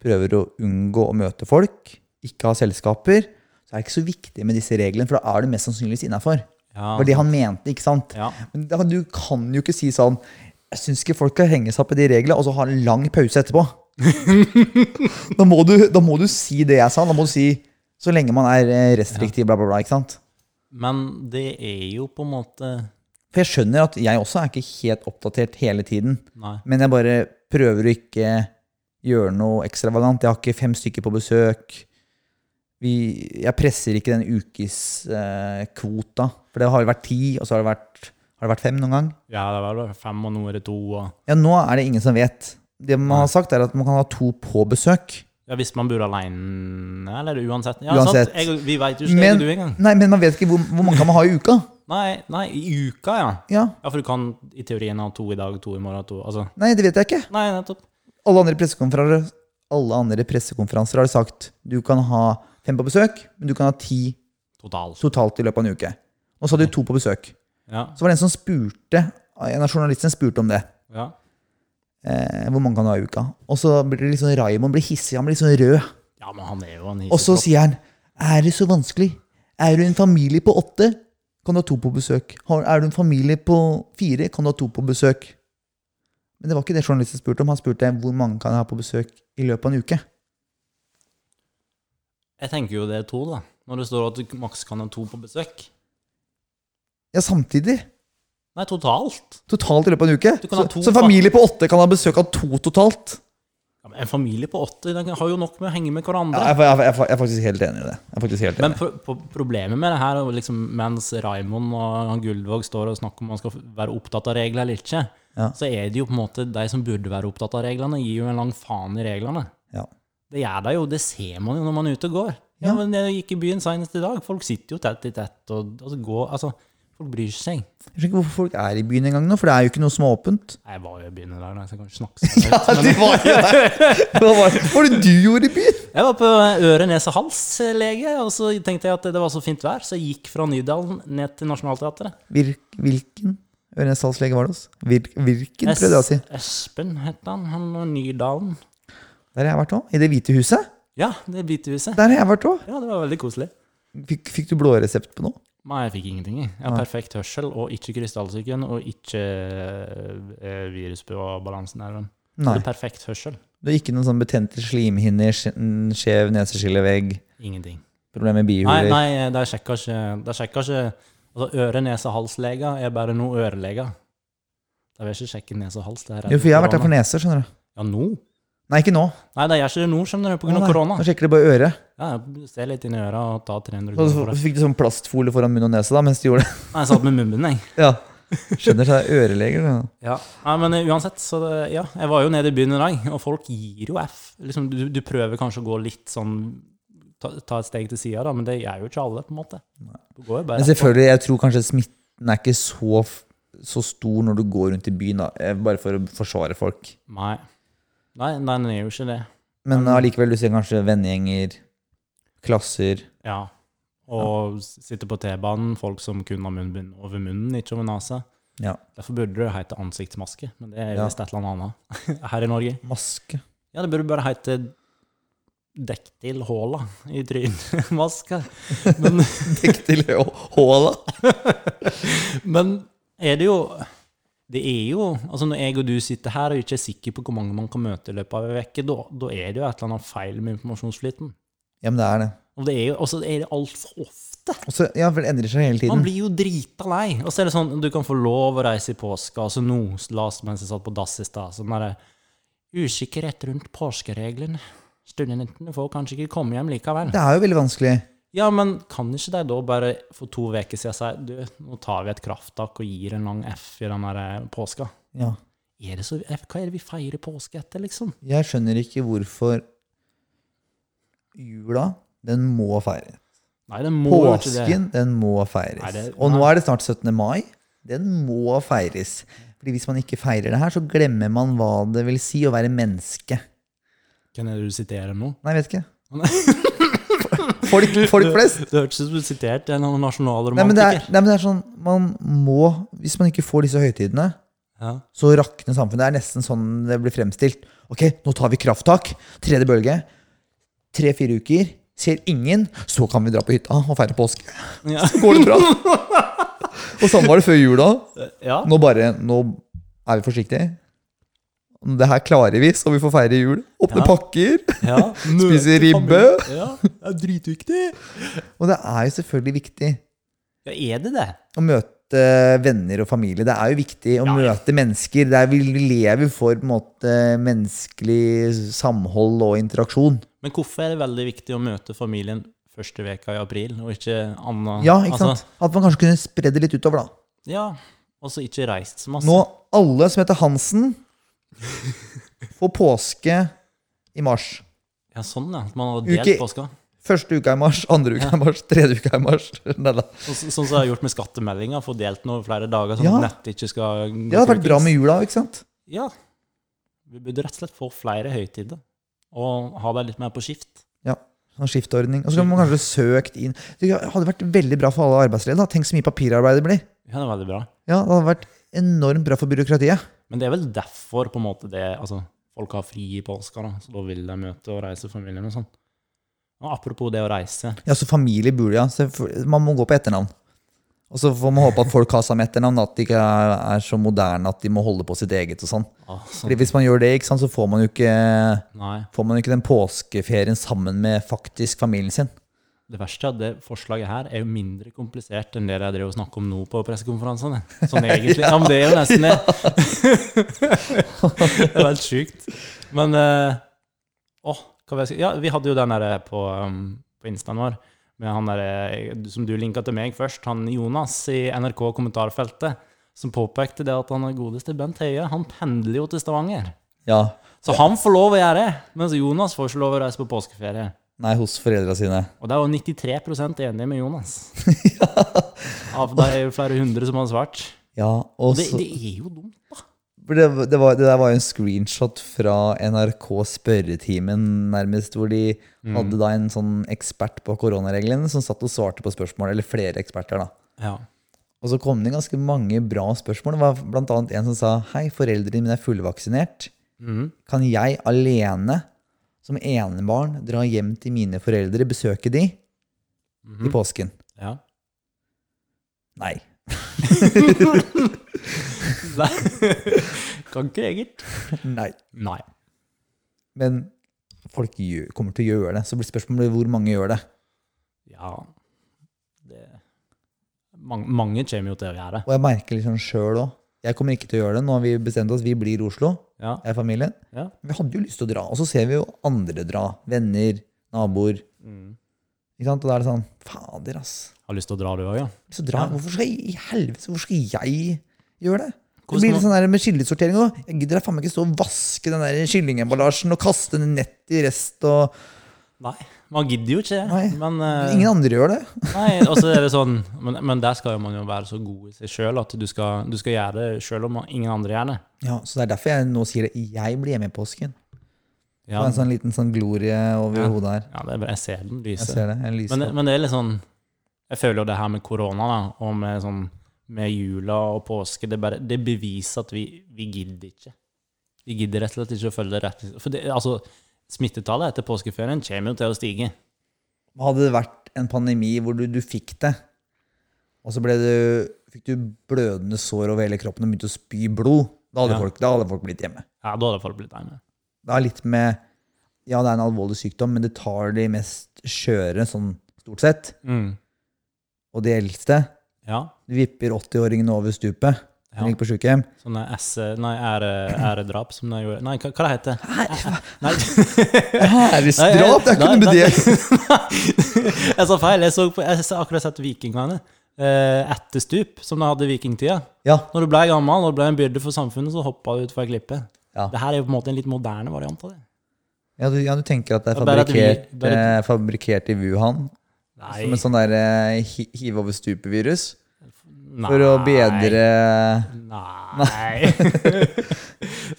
A: prøver å unngå å møte folk, ikke ha selskaper, så er det ikke så viktig med disse reglene, for da er du mest sannsynligvis innafor.
B: ja,
A: Det var det han mente, ikke sant?
B: ja.
A: Men da, du kan jo ikke si sånn Jeg syns ikke folk skal henge seg opp i de reglene, og så ha en lang pause etterpå. Da må, du, da må du si det jeg sa. Da må du si så lenge man er eh, restriktiv, bla, bla, bla. ikke sant?
B: Men det er jo på en måte
A: For jeg skjønner at jeg også er ikke helt oppdatert hele tiden.
B: Nei.
A: Men jeg bare prøver å ikke gjøre noe ekstravagant. Jeg har ikke fem stykker på besøk. Vi, jeg presser ikke den ukeskvota. Eh, kvota. for det har jo vært ti, og så har det vært, har det vært fem noen gang.
B: Ja, det var vel fem, og nå er det to. Og...
A: Ja, nå er det ingen som vet. Det man har sagt, er at man kan ha to på besøk.
B: Ja, Hvis man bor alene, eller uansett. Ja,
A: Uansett.
B: Sant? Jeg, vi veit jo ikke
A: Men,
B: du engang.
A: nei, men man vet ikke hvor, hvor mange kan man ha i uka.
B: Nei, nei, i uka, ja.
A: Ja,
B: Ja, For du kan i teorien ha to i dag, to i morgen, to altså.
A: Nei, det vet jeg ikke.
B: Nei, nettopp.
A: Alle andre pressekonferanser, alle andre pressekonferanser har sagt du kan ha fem på besøk, men du kan ha ti
B: Totalt.
A: totalt i løpet av en uke. Og så hadde du to på besøk.
B: Ja.
A: Så var det en som spurte, en av journalistene spurte om det.
B: ja.
A: Eh, hvor mange kan du ha i uka? Og så blir det liksom Raymond blir hissig, han blir liksom rød.
B: Ja, men han er jo en
A: Og så
B: hiseplopp.
A: sier han Er det så vanskelig? Er du en familie på åtte, kan du ha to på besøk. Har- Er du en familie på fire, kan du ha to på besøk. Men det var ikke det journalisten spurte om. Han spurte hvor mange kan jeg ha på besøk i løpet av en uke.
B: Jeg tenker jo det er to, da. Når det står at du maks kan ha to på besøk.
A: Ja, samtidig.
B: Nei, totalt.
A: Totalt i løpet av en uke.
B: Du kan
A: Så,
B: ha to
A: så en familie på åtte kan ha besøk av to totalt.
B: Ja, men en familie på åtte den har jo nok med å henge med
A: Ja,
B: hverandre.
A: jeg, jeg, jeg, jeg er faktisk helt enig i det. Jeg er faktisk helt enig.
B: Men pro pro problemet med det her, er jo liksom, mens Raimond og han Guldvåg står og snakker om man skal være opptatt av regler eller ikke,
A: Ja.
B: så er det jo på en måte de som burde være opptatt av reglene, gir jo en lang faen i reglene.
A: Ja.
B: Det gjør de jo, det ser man jo når man er ute og går. Ja,
A: Ja.
B: men Jeg gikk i byen senest i dag. Folk sitter jo tett i tett og, og går Altså, folk bryr seg.
A: Jeg skjønner ikke hvorfor folk er i byen engang nå, for det er jo ikke noe som er åpent.
B: Nei, Jeg var jo i byen i dag, da, så jeg kan ikke snakke sånn. høyt, men-
A: det var jo det. Hva var, var det du gjorde i byen?
B: Jeg var på øre-, nese- og halslege, og så tenkte jeg at det var så fint vær, så jeg gikk fra Nydalen ned til Nationaltheatret.
A: Virk, hvilken ørenesalslege var det hos? Virk, hvilken, prøvde jeg å si.
B: Es- Espen het han. Han var Nydalen.
A: Der har jeg vært òg. I Det hvite huset.
B: Ja, det bitehuset.
A: Der har jeg vært òg.
B: Ja, det var veldig koselig.
A: Fikk, fikk du blå resept på noe?
B: Nei, jeg fikk ingenting. Jeg Jeg har perfekt hørsel og ikke krystallsyken og ikke eh, virus på balansenerven. Så
A: Nei.
B: det er Perfekt hørsel.
A: Du har ikke noen sånn betente slimhinner, skje- en skjev neseskillevegg,
B: Ingenting.
A: problemer med
B: Nei,
A: bihuler
B: nei, de sjekka ikke De sjekka ikke Altså, øre-, nese- og halsleger er bare noe øreleger. De vil ikke sjekke nese og hals. det her er
A: Jo, for jeg har vært der
B: korona.
A: for neser, skjønner du.
B: Ja, nå?
A: Nei, ikke nå.
B: Nei, de gjør ikke det nå, skjønner du, på grunn av
A: Å, nei.
B: korona.
A: Da sjekker de bare øret.
B: Ja, Se litt inn i øra og ta 300
A: Så
B: kroner for
A: så
B: det.
A: fikk du sånn plastfolie foran munn og nese da, mens de gjorde det.
B: Nei, jeg satt med munnbind, jeg.
A: Ja. Skjønner, så det er øreleger. da.
B: Ja. Nei, men eh, uansett, så det, ja. Jeg var jo nede i byen i dag, og folk gir jo F. Liksom, du, du prøver kanskje å gå litt sånn Ta, ta et steg til sida, da, men det gjør jo ikke alle, på en måte. Du går jo bare
A: Men selvfølgelig, jeg tror kanskje smitten er ikke så, f- så stor når du går rundt i byen, da. eh, bare for å forsvare folk.
B: Nei. Nei, nei, den er jo ikke det.
A: Men allikevel, du ser kanskje vennegjenger, klasser
B: Ja. Og s- sitte på T-banen, folk som kun har munnbind over munnen, ikke over nesa.
A: Ja.
B: Derfor burde det jo hete ansiktsmaske, men det er
A: Ja.
B: visst et eller annet annet her i Norge.
A: Maske.
B: Ja, det burde bare hete Dekk til håla i trynmaska. Men,
A: Dekk til hå- håla.
B: men er det jo Det er jo Altså, når jeg og du sitter her og ikke er sikker på hvor mange man kan møte i løpet av en uke, da, da er det jo et eller annet feil med informasjonsflyten.
A: Ja, men det er det.
B: Og det er jo også er det altfor ofte.
A: Og så- ja, for det endrer seg hele
B: Man
A: tiden.
B: blir jo drita lei. Og så er det sånn, du kan få lov å reise i påska, og så nå las mens jeg satt på dass i stad, sånn derre Usikkerhet rundt påskereglene. Studentene får kanskje ikke komme hjem likevel.
A: Det er jo veldig vanskelig.
B: Ja, men kan ikke de da bare for to uker siden si du, nå tar vi et krafttak og gir en lang F i den der eh, påska?
A: Ja.
B: Er det så, hva er det vi feirer påske etter, liksom?
A: Jeg skjønner ikke hvorfor jula, den må feires.
B: Nei, det må jo ikke det.
A: Påsken, den må feires.
B: Nei, det-
A: og nå er det snart 17. mai. Den må feires. Fordi hvis man ikke feirer det her, så glemmer man hva det vil si å være menneske.
B: Kan jeg sitere nå?
A: Nei, jeg vet ikke. Folk, folk flest.
B: Det hørtes ut som du siterte en eller annen
A: Nei men, det er,
B: nasjonalromantiker.
A: nei, men det er sånn Man må Hvis man ikke får disse høytidene,
B: Ja.
A: så rakner samfunnet. Det er nesten sånn det blir fremstilt. Ok, nå tar vi krafttak. Tredje bølge. Tre-fire uker. Ser ingen. Så kan vi dra på hytta og feire påske.
B: Ja.
A: Så går det bra. Og sånn var det før jula.
B: ja.
A: Nå bare Nå er vi forsiktige. Det her klarer vi, så vi får feire jul. Åpne
B: Ja.
A: pakker.
B: Ja.
A: Spise ribbe.
B: Ja, det er dritviktig.
A: Og det er jo selvfølgelig viktig
B: Ja, er det det?
A: å møte venner og familie. Det er jo viktig å møte mennesker. Det er, vi vi lever for på en måte, menneskelig samhold og interaksjon.
B: Men hvorfor er det veldig viktig å møte familien første veka i april, og ikke anna?
A: Ja, ikke
B: altså,
A: sant? At man kanskje kunne spre det litt utover, da.
B: Ja, og så ikke reist så masse.
A: Nå, alle som heter Hansen, får påske i mars.
B: Ja, sånn ja. at Man har
A: Uke-
B: delt påska.
A: Første uka i mars, andre uka i mars, tredje uka i mars. Nei da.
B: Sånn sånn som jeg har gjort med skattemeldinga, få delt den over flere dager, sånn
A: Ja.
B: at nettet ikke skal gå
A: Det hadde
B: til
A: vært bra
B: ukens.
A: med jula, ikke sant?
B: Ja. Vi burde rett og slett få flere høytider, og ha dem litt mer på skift.
A: Sånn skiftordning. Og så kunne man kanskje søkt inn. Det hadde vært veldig bra for alle arbeidsledige. da. Tenk så mye papirarbeid det blir.
B: Ja, det er veldig bra.
A: Ja, det hadde vært enormt bra for byråkratiet.
B: Men det er vel derfor på en måte det Altså, folk har fri i påska, da, så da vil de møte og reise familien og sånn. Og apropos det å reise
A: Ja, så familie burde, ja. Så for- man må gå på etternavn. Og så får man håpe at folk har samme etternavn, at de ikke er er så moderne at de må holde på sitt eget og sånn.
B: ah, sånn.
A: Fordi hvis man gjør det, ikke sant, så får man jo ikke,
B: Nei.
A: får man jo ikke den påskeferien sammen med faktisk familien sin.
B: Det verste er at det forslaget her er jo mindre komplisert enn det jeg drev og snakket om nå på pressekonferansene. Sånn egentlig. ja. men det er jo nesten det. det er jo helt sjukt. Men eh, åh, hva vil jeg si? Ja, vi hadde jo den derre på, um, på instaen vår, med han derre som du linka til meg først, han Jonas i NRK kommentarfeltet, som påpekte det at han er godeste Bent Høie. Han pendler jo til Stavanger.
A: Ja.
B: Så han får lov å gjøre det, mens Jonas får ikke lov å reise på påskeferie.
A: Nei, hos foreldra sine.
B: Og det er jo 93 enig med Jonas. Av det er jo flere hundre som har svart.
A: Ja, og
B: Det,
A: så
B: det er jo dumt, da.
A: For det, det, var, det der var jo en screenshot fra NRK Spørretimen, nærmest, hvor de
B: Mm.
A: hadde da en sånn ekspert på koronareglene som satt og svarte på spørsmål, eller flere eksperter, da.
B: Ja.
A: Og så kom det inn ganske mange bra spørsmål. Det var blant annet en som sa Hei, foreldrene mine er fullvaksinert.
B: Mhm.
A: Kan jeg alene, som enebarn, dra hjem til mine foreldre, besøke de
B: Mm-hmm.
A: i påsken?
B: ja.
A: Nei.
B: Nei. Kan ikke Egert.
A: Nei.
B: Nei.
A: Men folk gjør, kommer til å gjøre det. Så blir spørsmålet hvor mange gjør det.
B: Ja. Det. Mange, mange kommer jo til å gjøre det.
A: Og jeg merker liksom sjøl òg. Jeg kommer ikke til å gjøre det. Nå har vi bestemt oss. Vi blir i Oslo,
B: Ja.
A: jeg og familien.
B: Ja.
A: Vi hadde jo lyst til å dra. Og så ser vi jo andre dra. Venner, naboer.
B: Mm.
A: Ikke sant? Og da er det sånn Fader, ass.
B: Har lyst til å dra, du òg, ja?
A: Så dra,
B: Ja.
A: Hvorfor skal jeg i helvete, hvorfor skal jeg gjøre det? Det
B: Hvordan
A: blir
B: må-
A: litt sånn der med skillesortering òg. Jeg gidder da faen meg ikke stå og vaske den der kyllingemballasjen og kaste den nett i rest. og
B: Nei. Man gidder jo ikke det.
A: Nei.
B: Men eh,
A: Ingen andre gjør det.
B: Nei, og så er det sånn men, men der skal jo man jo være så god i seg sjøl at du skal, du skal gjøre det sjøl om ingen andre gjør det.
A: Ja, Så det er derfor jeg nå sier det. Jeg blir hjemme i påsken. Det
B: Ja,
A: var en sånn liten sånn glorie over
B: Ja.
A: hodet her.
B: ja det er, bra. jeg ser den
A: Jeg
B: lyse.
A: ser det. Jeg lyser
B: Men,
A: opp.
B: men det er litt sånn Jeg føler jo det her med korona da, og med, sånn, med jula og påske Det, bare, det beviser at vi, vi gidder ikke. Vi gidder rett og slett ikke å følge det rett. For det, altså, smittetallet etter påskeferien kommer jo til å stige.
A: Hadde det vært en pandemi hvor du, du fikk det, og så ble du, fikk du blødende sår over hele kroppen og begynte å spy blod, da hadde,
B: Ja.
A: folk, da hadde folk blitt hjemme.
B: Ja, da hadde folk blitt lei meg.
A: Det er litt med Ja, det er en alvorlig sykdom, men det tar de mest skjøre, sånn stort sett,
B: Mm.
A: og de eldste.
B: Ja.
A: Du vipper 80-åringen over stupet.
B: Ja.
A: Hun ligger på sykehjem.
B: Sånne esse, nei, ære, æredrap som de gjorde Nei, hva, hva det heter det? Nei,
A: Æresdrap! Det er ikke noe med det!
B: det. Jeg sa feil. Jeg så, på, jeg har akkurat sett Vikingene. Eh, etterstup, som de hadde i vikingtida.
A: Ja,
B: Når du ble gammel og ble en byrde for samfunnet, så hoppa du utfor ei klippe.
A: Ja.
B: Det her er jo på en måte en litt moderne variant av det.
A: ja, du, ja, du tenker at det er
B: Ja, bare at vi-
A: fabrikkert,
B: bare
A: eh, fabrikkert i Wuhan?
B: Nei.
A: Som en sånn der eh, hi- hiv over stupet-virus?
B: Nei.
A: For å bedre
B: Nei.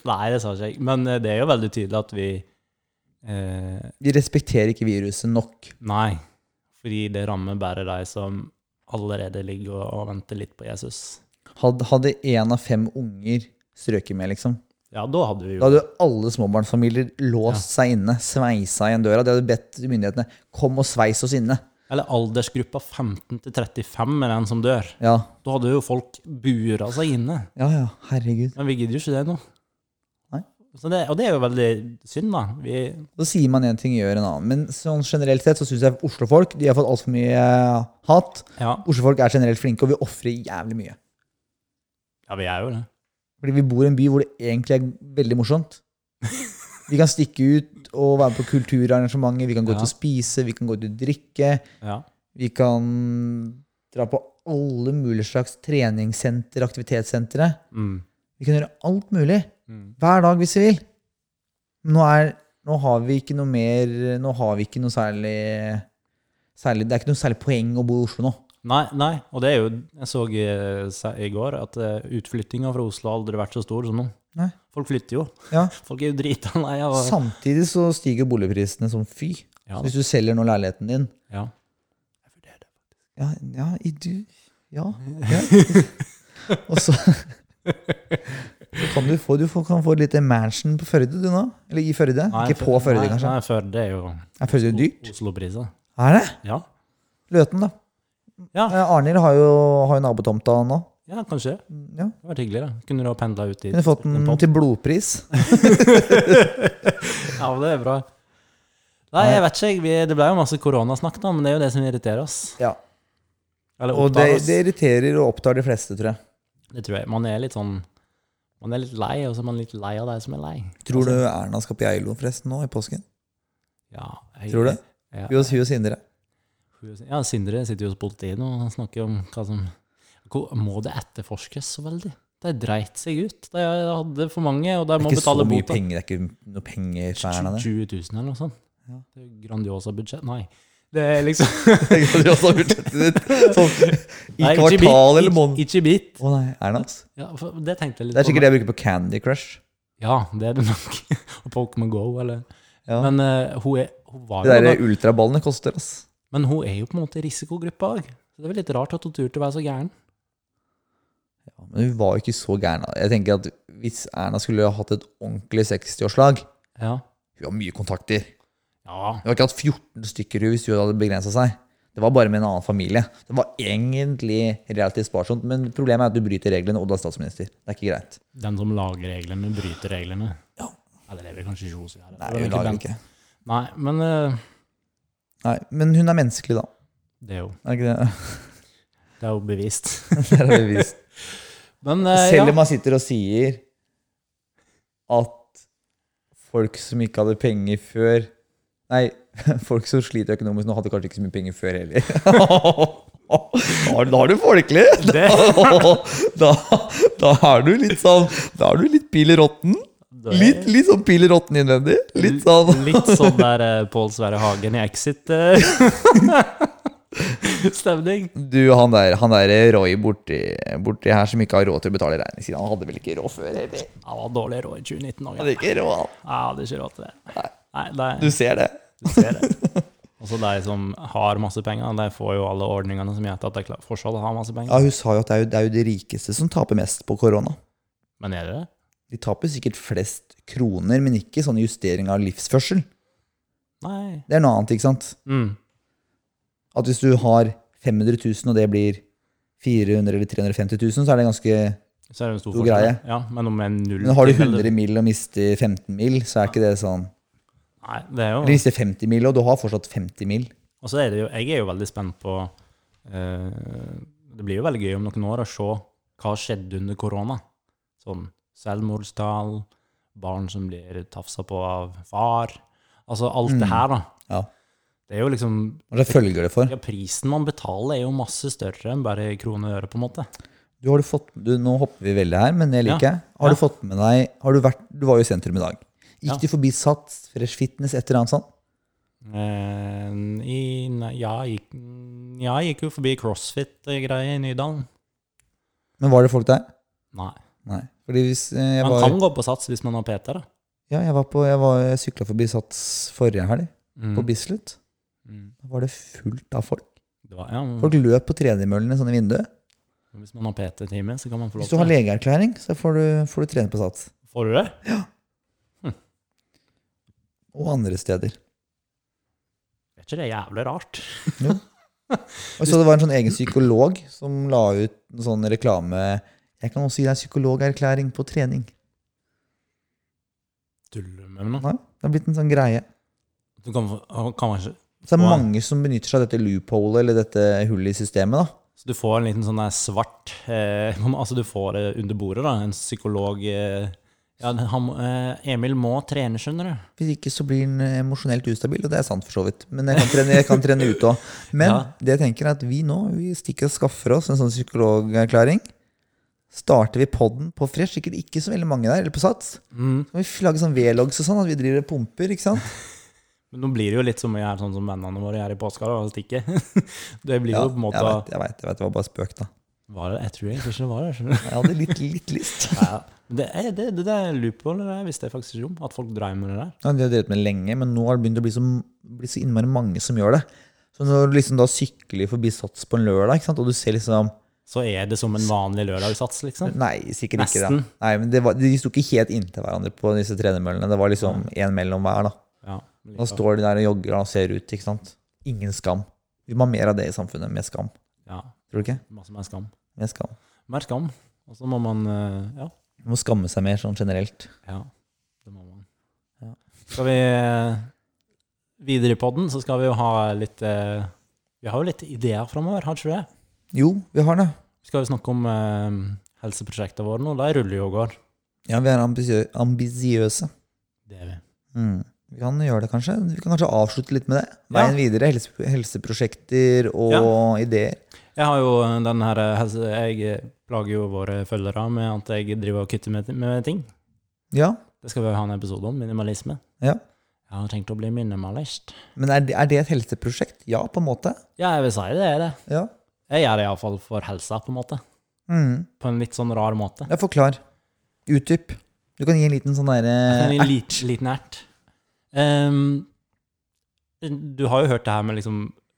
B: Nei, det sa ikke jeg. Men eh, det er jo veldig tydelig at vi eh,
A: Vi respekterer ikke viruset nok.
B: Nei. Fordi det rammer bare de som allerede ligger og, og venter litt på Jesus.
A: Hadde, hadde en av fem unger strøket med, liksom.
B: Ja, da hadde vi
A: Da
B: jo
A: hadde alle småbarnsfamilier låst seg inne, sveisa igjen døra. De hadde bedt myndighetene kom og sveis oss inne.
B: Eller aldersgruppa 15 til 35 er den som dør.
A: Ja,
B: Da hadde jo folk bura seg inne.
A: ja, ja herregud.
B: Men vi gidder jo ikke det nå.
A: Nei.
B: Så det, og det er jo veldig synd, da. Vi,
A: Da sier man én ting, gjør en annen. Men sånn generelt sett så syns jeg oslofolk de har fått altfor mye eh, hat.
B: ja.
A: Oslofolk er generelt flinke, og vi ofrer jævlig mye.
B: ja, vi er jo det.
A: Fordi vi bor i en by hvor det egentlig er veldig morsomt. Vi kan stikke ut og være med på kulturarrangementer, vi kan gå
B: Ja.
A: ut og spise, vi kan gå ut og drikke.
B: Ja.
A: Vi kan dra på alle mulige slags treningssenter, aktivitetssentre.
B: Mm.
A: Vi kan gjøre alt mulig.
B: Mm.
A: Hver dag hvis vi vil. Nå, er, nå har vi ikke noe mer Nå har vi ikke noe særlig, særlig Det er ikke noe særlig poeng å bo i Oslo nå.
B: Nei, nei, og det er jo Jeg så i, se- i går at eh, utflyttinga fra Oslo har aldri vært så stor som nå.
A: Nei.
B: Folk flytter jo.
A: Ja.
B: Folk er jo drita lei av
A: Samtidig så stiger boligprisene som fy.
B: Ja.
A: Hvis du selger nå leiligheten din
B: ja.
A: Ja, ja i du Ja. ja. Og så så kan du få, du får- kan få litt mansion på Førde, du nå. Eller i Førde.
B: Nei,
A: ikke på Førde,
B: nei,
A: kanskje.
B: Nei, Førde er jo
A: Er Førde dyrt?
B: Oslo-priser.
A: Er det?
B: Ja.
A: Løten, da.
B: Ja.
A: Eh, Arnhild har jo, har jo nabotomta nå.
B: ja, kanskje. Det
A: Ja.
B: hadde vært hyggelig. da. Kunne du ha pendla ut dit?
A: Hun har fått
B: en
A: den
B: pop?
A: til blodpris.
B: Ja, men det er bra. Nei, jeg vet ikke. jeg. Vi, det ble jo masse koronasnakk, da, men det er jo det som irriterer oss.
A: Ja.
B: Eller
A: Og det,
B: opptar oss.
A: det irriterer og opptar de fleste, tror jeg.
B: Det tror jeg. Man er litt sånn Man er litt lei, og så er man litt lei av deg som er lei.
A: Tror du Erna skal på Geilo forresten nå i påsken?
B: Ja, jeg,
A: Tror du det?
B: Ja.
A: Jo, hun og Sindre.
B: ja, Sindre sitter jo hos politiet nå og snakker om hva som Hvor- Må det etterforskes så veldig? De dreit seg ut. De hadde for mange, og de
A: Det
B: må
A: er ikke så
B: betale
A: mye
B: bota.
A: penger, det er ikke noe penger for Erna,
B: 20
A: det.
B: 000 eller noe sånt.
A: Ja.
B: Det er Grandiosa budsjett. Nei. Det er liksom
A: Jeg hadde også budsjettet ditt sånn, i
B: Nei, ikke bit,
A: kvartal eller måned.
B: Ikke, ikke bit.
A: Å nei, Erna, altså.
B: Ja, for det tenkte jeg litt
A: Det er
B: på.
A: sikkert det jeg bruker på Candy Crush.
B: Ja, det er det nok. Og Pokémon Go, eller
A: Ja.
B: Men eh, hun, er, hun var
A: De
B: jo
A: der ultraballene koster, ass.
B: Men hun er jo på en måte i risikogruppa òg. Så det er vel litt rart at hun turte å være så gæren.
A: Ja, Men hun var jo ikke så gæren. da. Jeg tenker at Hvis Erna skulle ha hatt et ordentlig 60-årslag
B: Ja.
A: Hun har mye kontakter.
B: ja.
A: Hun har ikke hatt 14 stykker hun hvis hun hadde begrensa seg. Det var bare med en annen familie. Det var egentlig relativt sparsomt, men problemet er at du bryter reglene, og du er statsminister. Det er ikke greit.
B: Den som lager reglene, bryter reglene.
A: Ja.
B: Eller det vil kanskje ikke hun si. her.
A: Nei,
B: Det var
A: hun
B: egentlig
A: lager
B: den-
A: ikke.
B: Nei, men eh,
A: Nei, men hun er menneskelig, da.
B: det, er jo,
A: Er ikke det?
B: det er jo bevist.
A: det er bevist.
B: Men eh,
A: Selv
B: ja.
A: om man sitter og sier at folk som ikke hadde penger før Nei, folk som sliter økonomisk nå, hadde kanskje ikke så mye penger før heller. Da har- Da har du folkelig!
B: Det,
A: da, da er du litt sånn Da er du litt pil i rotten.
B: det er
A: Litt, litt sånn pil i rotten innvendig. Litt sånn
B: litt sånn der eh, Pål Sverre Hagen i Exit eh, Stemning.
A: Du, han der, han der Roy borti, borti her som ikke har råd til å betale regning siden Han hadde vel ikke råd før? Eller?
B: Han var dårlig råd i 2019 òg.
A: Han hadde ikke råd, han.
B: Jeg hadde ikke råd til det. Nei, det
A: Du ser det.
B: Du ser det. Også de som har masse penger, de får jo alle ordningene som gjør at de klar- fortsatt har masse penger.
A: Ja, Hun sa jo at det er jo, det er jo de rikeste som taper mest på korona.
B: Men er det det?
A: De taper sikkert flest kroner, men ikke sånn justering av livsførsel.
B: Nei.
A: Det er noe annet, ikke sant?
B: Mm.
A: At hvis du har 500 000, og det blir 400 000 eller 350 000, så er det ganske
B: Så er det en stor
A: God
B: forskjell.
A: greie.
B: Ja, men om en null
A: Men har du
B: til, eller-
A: 100 mil og mister 15 mil, så er ikke det sånn.
B: Nei, det er
A: Eller
B: jo
A: mister 50 mil, og du har fortsatt 50 mil.
B: Og så er det jo Jeg er jo veldig spent på eh, Det blir jo veldig gøy om noen år å se hva skjedde under korona. Sånn selvmordstall, barn som blir tafsa på av far Altså alt det her, da.
A: Mm. Ja.
B: Det er jo liksom
A: Hva slags følger det for?
B: ja, Prisen man betaler, er jo masse større enn bare i kroner og øre, på en måte.
A: Du, har du fått, du, nå hopper vi veldig her, men det liker jeg. Har du fått med deg har du, vært, du var jo i sentrum i dag. Gikk
B: Ja.
A: du forbi Sats, Fresh Fitness, et eller annet sånt?
B: Eh, i, nei, ja, jeg gikk, ja, jeg gikk jo forbi crossfit-greier i Nydalen.
A: Men var det folk der?
B: Nei.
A: Nei. Fordi hvis eh, jeg
B: Man
A: var,
B: kan gå på sats hvis man har PT, da.
A: ja, jeg var på Jeg, var- jeg sykla forbi Sats forrige helg,
B: Mm.
A: på Bislett.
B: Mm.
A: Da var det fullt av folk.
B: Det var, ja, men
A: Folk løp på tredemøllene sånn i vinduet.
B: hvis man har PT-time, så kan man få lov
A: Hvis du har legeerklæring, så får du, får du trene på Sats.
B: Får du det?
A: Og andre steder.
B: Er ikke det jævlig rart?
A: Og jeg så det var en sånn egen psykolog som la ut en sånn reklame Jeg kan også gi deg psykologerklæring på trening.
B: tuller med meg nå.
A: Nei, det har blitt en sånn greie.
B: Du kan, kan man ikke
A: Så det er
B: Wow.
A: mange som benytter seg av dette loopholet, eller dette hullet i systemet. da.
B: Så du får en liten sånn der svart eh, Altså, du får det under bordet, da. En psykolog eh, ja, han, må- eh, Emil må trene, skjønner du.
A: Hvis ikke så blir den eh, emosjonelt ustabil, og det er sant for så vidt. Men jeg kan trene, jeg kan trene ut òg. Men
B: Ja.
A: det jeg tenker er at vi nå vi stikker og skaffer oss en sånn psykologerklæring. Starter vi podden på fresh, sikkert ikke så veldig mange der, eller på sats.
B: Mm.
A: Så må vi lage sånn V-logs og sånn, at vi driver og pumper, ikke sant.
B: Men nå blir det jo litt som å gjøre sånn som vennene våre gjør i påska, da, og stikke. det blir jo på en måte
A: jeg vet, jeg vet, jeg vet, det var bare spøk, da.
B: var det, Jeg tror egentlig ikke det var det. skjønner du.
A: Jeg hadde litt, litt lyst.
B: Ja. Det, er- det, det, det er loophole, det der, visste jeg faktisk ikke om. At folk dreier med det der.
A: Ja, de har drevet med det lenge, men nå har det begynt å bli så, bli så innmari mange som gjør det. Så når du liksom da sykler forbi Sats på en lørdag, ikke sant? og du ser liksom
B: Så er det som en vanlig lørdagssats, liksom.
A: Nei, sikkert ikke.
B: Nesten.
A: Da. Nei, men det var, De sto ikke helt inntil hverandre på disse tredemøllene. Det var liksom én mellom hver. da.
B: Ja,
A: Nå står de der og jogger og ser ut. ikke sant? Ingen skam. Vi må ha mer av det i samfunnet. Mer skam.
B: ja,
A: Tror du ikke?
B: masse mer skam.
A: Mer skam.
B: Mer skam. Og så må man eh, Ja.
A: Man må skamme seg mer sånn generelt.
B: Ja, det må man.
A: Ja.
B: Skal vi eh, videre i podden, så skal vi jo ha litt eh, Vi har jo litt ideer framover, har ikke vi det?
A: Jo, vi har det.
B: Vi skal jo snakke om eh, helseprosjektene våre nå. De ruller jo og går.
A: Ja, vi er ambisiø- ambisiøse.
B: Det er vi.
A: Mm. Vi kan gjøre det, kanskje. Vi kan kanskje avslutte litt med det.
B: Ja.
A: Veien videre. Helse, helseprosjekter og ideer.
B: Jeg har jo den her eh, helse... Jeg plager jo våre følgere med at jeg driver og kutter med, med ting.
A: Ja.
B: Det skal vi jo ha en episode om. Minimalisme.
A: ja.
B: Jeg har tenkt å bli minimalist.
A: Men er det, er det et helseprosjekt? Ja, på en måte.
B: Ja, jeg vil si det er det.
A: Ja.
B: Jeg gjør det iallfall for helsa, på en måte.
A: Mm.
B: På en litt sånn rar måte.
A: Ja, forklar. Utdyp. Du kan gi en liten sånn
B: En
A: derre
B: lit, liten ert. Ehm, du har jo hørt det her med liksom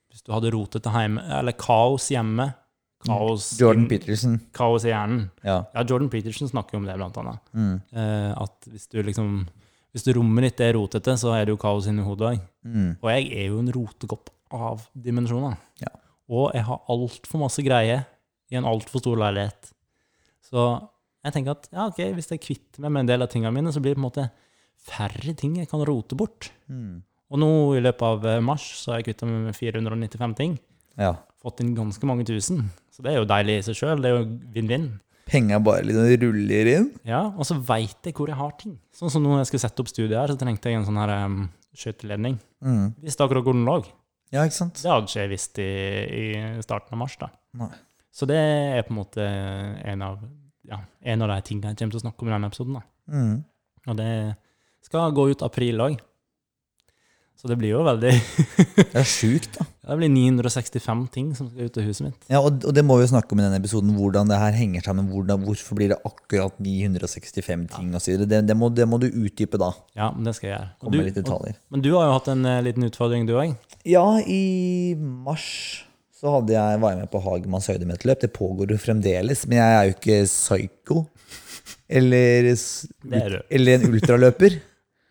B: Hvis du hadde rotet det hjemme, eller kaos hjemme Kaos,
A: Jordan Peterson.
B: kaos i hjernen.
A: Ja.
B: Ja, Jordan Peterson snakker jo om det, blant annet.
A: Mm.
B: Eh, at hvis du liksom Hvis du rommet ditt er rotete, så er det jo kaos inni hodet òg.
A: Mm.
B: Og jeg er jo en rotekopp av dimensjoner.
A: Ja.
B: Og jeg har altfor masse greier i en altfor stor leilighet. Så jeg tenker at ja, ok, hvis jeg kvitter meg med en del av tingene mine, så blir det på en måte færre ting jeg kan rote bort.
A: Mm.
B: Og nå i løpet av eh, mars så har jeg kvittet meg med 495 ting.
A: Ja.
B: Fått inn ganske mange tusen. Så det er jo deilig i seg sjøl. Det er jo vinn-vinn.
A: Penga bare liksom ruller inn.
B: Ja, og så veit jeg hvor jeg har ting. Sånn som når jeg skulle sette opp studiet her, så trengte jeg en sånn her um, skøyteledning.
A: Mm.
B: Visste akkurat hvor den lå.
A: Ja, ikke sant?
B: Det hadde ikke jeg visst i, i starten av mars. da.
A: Nei.
B: Så det er på en måte en av, ja, en av de tingene jeg kommer til å snakke om i denne episoden. da.
A: Mm.
B: Og det skal gå ut april òg. Så det blir jo veldig
A: Det er sjukt, da.
B: Det blir 965 ting som skal ut av huset mitt.
A: Ja, og, og det må vi jo snakke om i denne episoden, hvordan det her henger sammen. Hvordan, hvorfor blir det akkurat 965 ting og så videre. Det, det, må, det må du utdype da.
B: Ja, men det skal jeg gjøre. Og
A: Komme med litt
B: du, og,
A: detaljer.
B: men du har jo hatt en eh, liten utfordring, du òg.
A: Ja, i mars så hadde jeg, var jeg med på Hagemanns høydemeterløp. Det pågår jo fremdeles, men jeg er jo ikke psycho. Eller, s-
B: Det er du.
A: eller en ultraløper.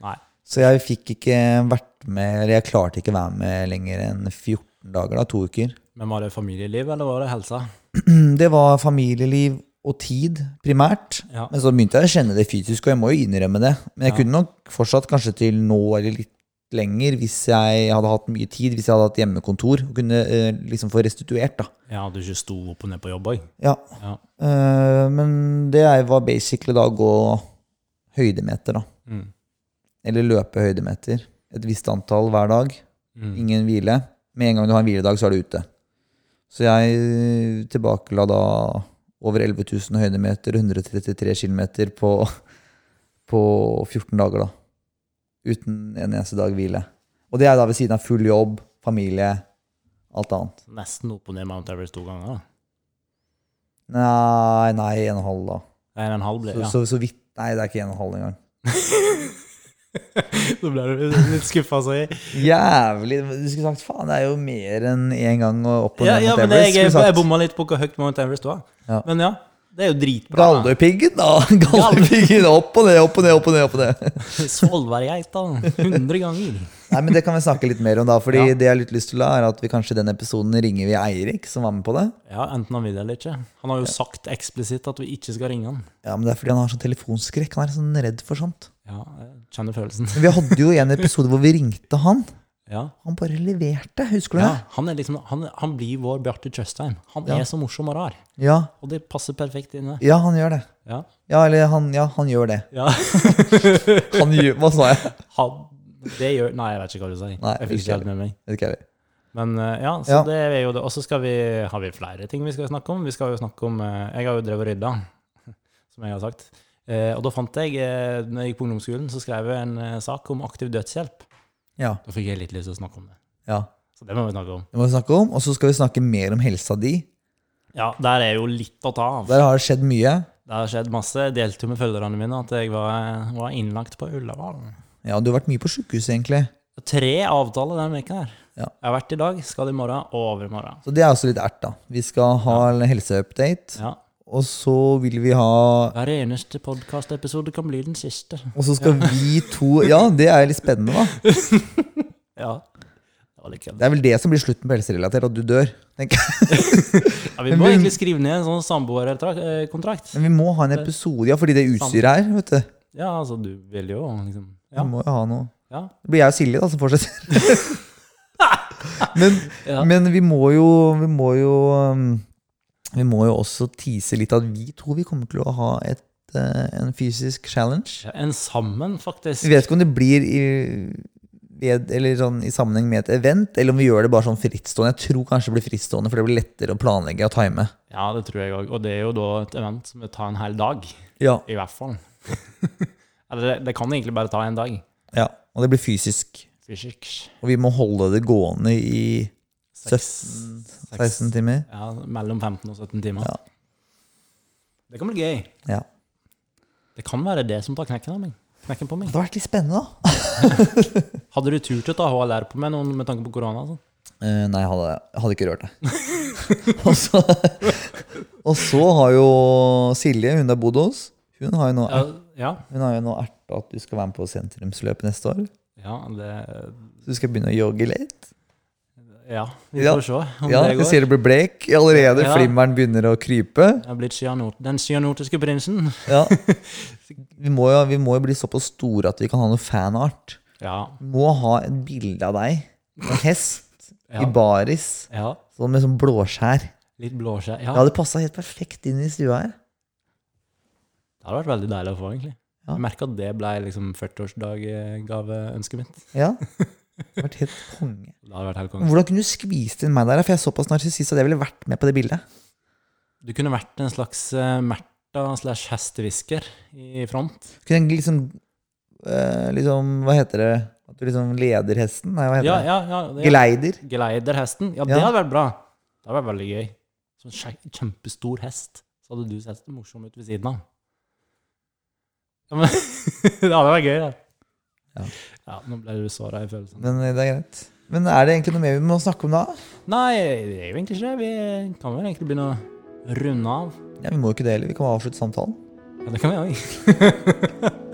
B: Nei.
A: Så jeg fikk ikke vært med, eller jeg klarte ikke være med lenger enn 14 dager, da, to uker.
B: Men var det familieliv, eller var det helsa?
A: Det var familieliv og tid, primært.
B: Ja.
A: Men så begynte jeg å kjenne det fysisk, og jeg må jo innrømme det. Men jeg
B: Ja.
A: kunne nok fortsatt kanskje til nå eller litt lenger hvis jeg hadde hatt mye tid, hvis jeg hadde hatt hjemmekontor, og kunne eh, liksom få restituert, da.
B: Jeg hadde ikke sto opp og ned på jobb òg.
A: Ja.
B: Ja.
A: Eh, men det er- var basically da å gå høydemeter, da.
B: Mm.
A: Eller løpe høydemeter. Et visst antall hver dag.
B: Mm.
A: Ingen hvile. Med en gang du har en hviledag, så er du ute. Så jeg tilbakela da over 11 000 høydemeter, 133 km på, på 14 dager, da. Uten en eneste dag hvile. Og det er da ved siden av full jobb, familie, alt annet.
B: Nesten opp og ned Mount Everest to ganger. da.
A: Nei, nei, en og en halv, da.
B: En og en halv ble
A: Så,
B: ja.
A: så, så vidt Nei, det er ikke en og en halv engang.
B: Så ble du litt skuffa, så jeg.
A: Jævlig! Du skulle sagt faen, det er jo mer enn én gang og opp og
B: Ja,
A: ned
B: ja,
A: mot
B: men det,
A: Everest.
B: jeg,
A: Skulle
B: jeg, jeg
A: sagt
B: bomma litt på hvor høyt Mount Everest var.
A: Ja.
B: Men ja, det er jo dritbra. da.
A: Galdhøpiggen, da! Galdhøpiggen opp og ned, opp og ned, opp og ned. opp og ned.
B: Svolværgeit, da. 100 ganger.
A: Nei, men Det kan vi snakke litt mer om, da. Fordi
B: Ja.
A: det jeg har litt lyst til, da, er at vi kanskje i den episoden ringer vi Eirik, som var med på det.
B: Ja, Enten han vil eller ikke. Han har jo sagt eksplisitt at vi ikke skal ringe han.
A: Ja, men Det er fordi han har sånn telefonskrekk. Han er sånn redd for sånt.
B: Ja, jeg Kjenner følelsen.
A: Men vi hadde jo en episode hvor vi ringte han.
B: Ja.
A: Han bare leverte, husker du
B: ja
A: det?
B: han, er liksom, han, han blir vår Bjarte Tjøstheim. Han
A: Ja.
B: er så morsom og rar.
A: Ja,
B: Og det passer perfekt inne.
A: ja han gjør det.
B: Ja.
A: Ja, eller han, ja, han gjør det.
B: ja.
A: Han gjør, Hva sa jeg?
B: Han, det gjør Nei, jeg vet ikke hva du sier.
A: Nei,
B: jeg fikk
A: ikke
B: ikke helt med meg.
A: Vet ikke jeg.
B: Men eh, ja, så
A: Ja.
B: det er jo det. Og så skal vi, har vi flere ting vi skal snakke om. Vi skal jo snakke om eh, Jeg har jo drevet og rydda, som jeg har sagt. Eh, og da fant jeg, eh, når jeg gikk på ungdomsskolen, så skrev jeg en eh, sak om aktiv dødshjelp.
A: Ja,
B: Da fikk jeg litt lyst til å snakke om det.
A: ja.
B: Så det må vi snakke om.
A: Det må vi snakke om. Og så skal vi snakke mer om helsa di.
B: Ja, der er jo litt å ta av.
A: Der har det skjedd mye.
B: Det har skjedd masse. Jeg delte jo med følgerne mine at jeg var, var innlagt på Ullevål.
A: Ja, du har vært mye på sjukehuset, egentlig.
B: Tre avtaler denne uka her.
A: Ja.
B: Jeg har vært i dag, skal i morgen og over i morgen.
A: Så det er også litt ert, da. Vi skal ha en helseupdate,
B: Ja.
A: og så vil vi ha
B: Hver eneste podkastepisode kan bli den siste.
A: Og så skal vi to Ja, det er litt spennende, da.
B: Ja. Det var litt kødd.
A: Det er vel det som blir slutten på helserelatert, at du dør. tenker jeg.
B: Ja, vi må egentlig skrive ned en sånn samboerkontrakt. Eh,
A: Men vi må ha en episode, ja, fordi det utstyret her, vet du.
B: Ja, altså, du vil jo liksom
A: Vi
B: Ja.
A: må jo ha noe.
B: ja.
A: Det blir jeg og Silje, da, som fortsetter. Men,
B: Ja.
A: men vi må jo Vi må jo um, Vi må jo også tease litt at vi to vi kommer til å ha et, eh, en fysisk challenge.
B: En sammen, faktisk.
A: Vi vet ikke om det blir i, ved, eller sånn, i sammenheng med et event, eller om vi gjør det bare sånn frittstående. Jeg tror kanskje det blir frittstående, for det blir lettere å planlegge og time.
B: Ja, det tror jeg òg. Og det er jo da et event som vil ta en hel dag.
A: Ja.
B: I hvert fall. Eller det, det kan egentlig bare ta en dag.
A: ja. Og det blir fysisk.
B: Fysisk.
A: Og vi må holde det gående i
B: Seks-
A: 17-16 timer.
B: Ja, mellom 15 og 17 timer.
A: Ja.
B: Det kan bli gøy.
A: Ja.
B: Det kan være det som tar knekken av meg. Knekken på meg.
A: Det har vært litt spennende, da.
B: Hadde du tur til å ta HLR på meg noen med tanke på korona? og sånn?
A: Eh, nei, jeg hadde, jeg hadde ikke rørt det. og, så, og så har jo Silje, hun der bodde hos, hun har jo nå,
B: Ja, ja.
A: hun har jo nå erta at du skal være med på sentrumsløpet neste år.
B: ja, det
A: Så du skal begynne å jogge litt.
B: Ja, vi
A: Ja.
B: får se om
A: Ja,
B: det
A: jeg
B: går.
A: ser det blir blek allerede.
B: Ja.
A: Flimmeren begynner å krype.
B: Jeg har blitt cyanot, den cyanotiske prinsen.
A: Ja. Vi, må jo, vi må jo bli såpass store at vi kan ha noe fanart.
B: Ja.
A: Vi må ha et bilde av deg. En hest i
B: ja.
A: baris.
B: ja.
A: Sånn med sånn blåskjær.
B: Litt blåskjær. Ja,
A: Det hadde passa helt perfekt inn i stua her.
B: det hadde vært veldig deilig å få, egentlig.
A: Ja.
B: Jeg merka at det ble liksom 40-årsdaggaveønsket mitt.
A: Ja. Det hadde vært helt konge.
B: Det hadde vært helt konge.
A: Hvordan kunne du skvist inn meg der? For jeg er såpass narsissist at jeg ville vært med på det bildet.
B: Du kunne vært en slags eh, Märtha slash hestehvisker i front.
A: Kunne jeg liksom, eh, liksom Hva heter det? At du liksom leder hesten? Nei, hva heter
B: Ja, ja, ja.
A: det?
B: det-
A: Geleider?
B: Geleiderhesten. Ja, det
A: Ja.
B: hadde vært bra. Det hadde vært veldig gøy. Sånn skje- kjempestor hest. Så hadde du sett morsom ut ved siden av. Ja, men, det hadde vært gøy, det.
A: Ja.
B: Ja, nå ble du såra i følelsen.
A: Men eh, det er greit. Men er det egentlig noe mer vi må snakke om da?
B: Nei, det er jo egentlig ikke det. Vi kan vel egentlig begynne å runde av.
A: Ja, Vi må jo ikke det heller. Vi kan bare avslutte samtalen.
B: Ja, det kan vi òg.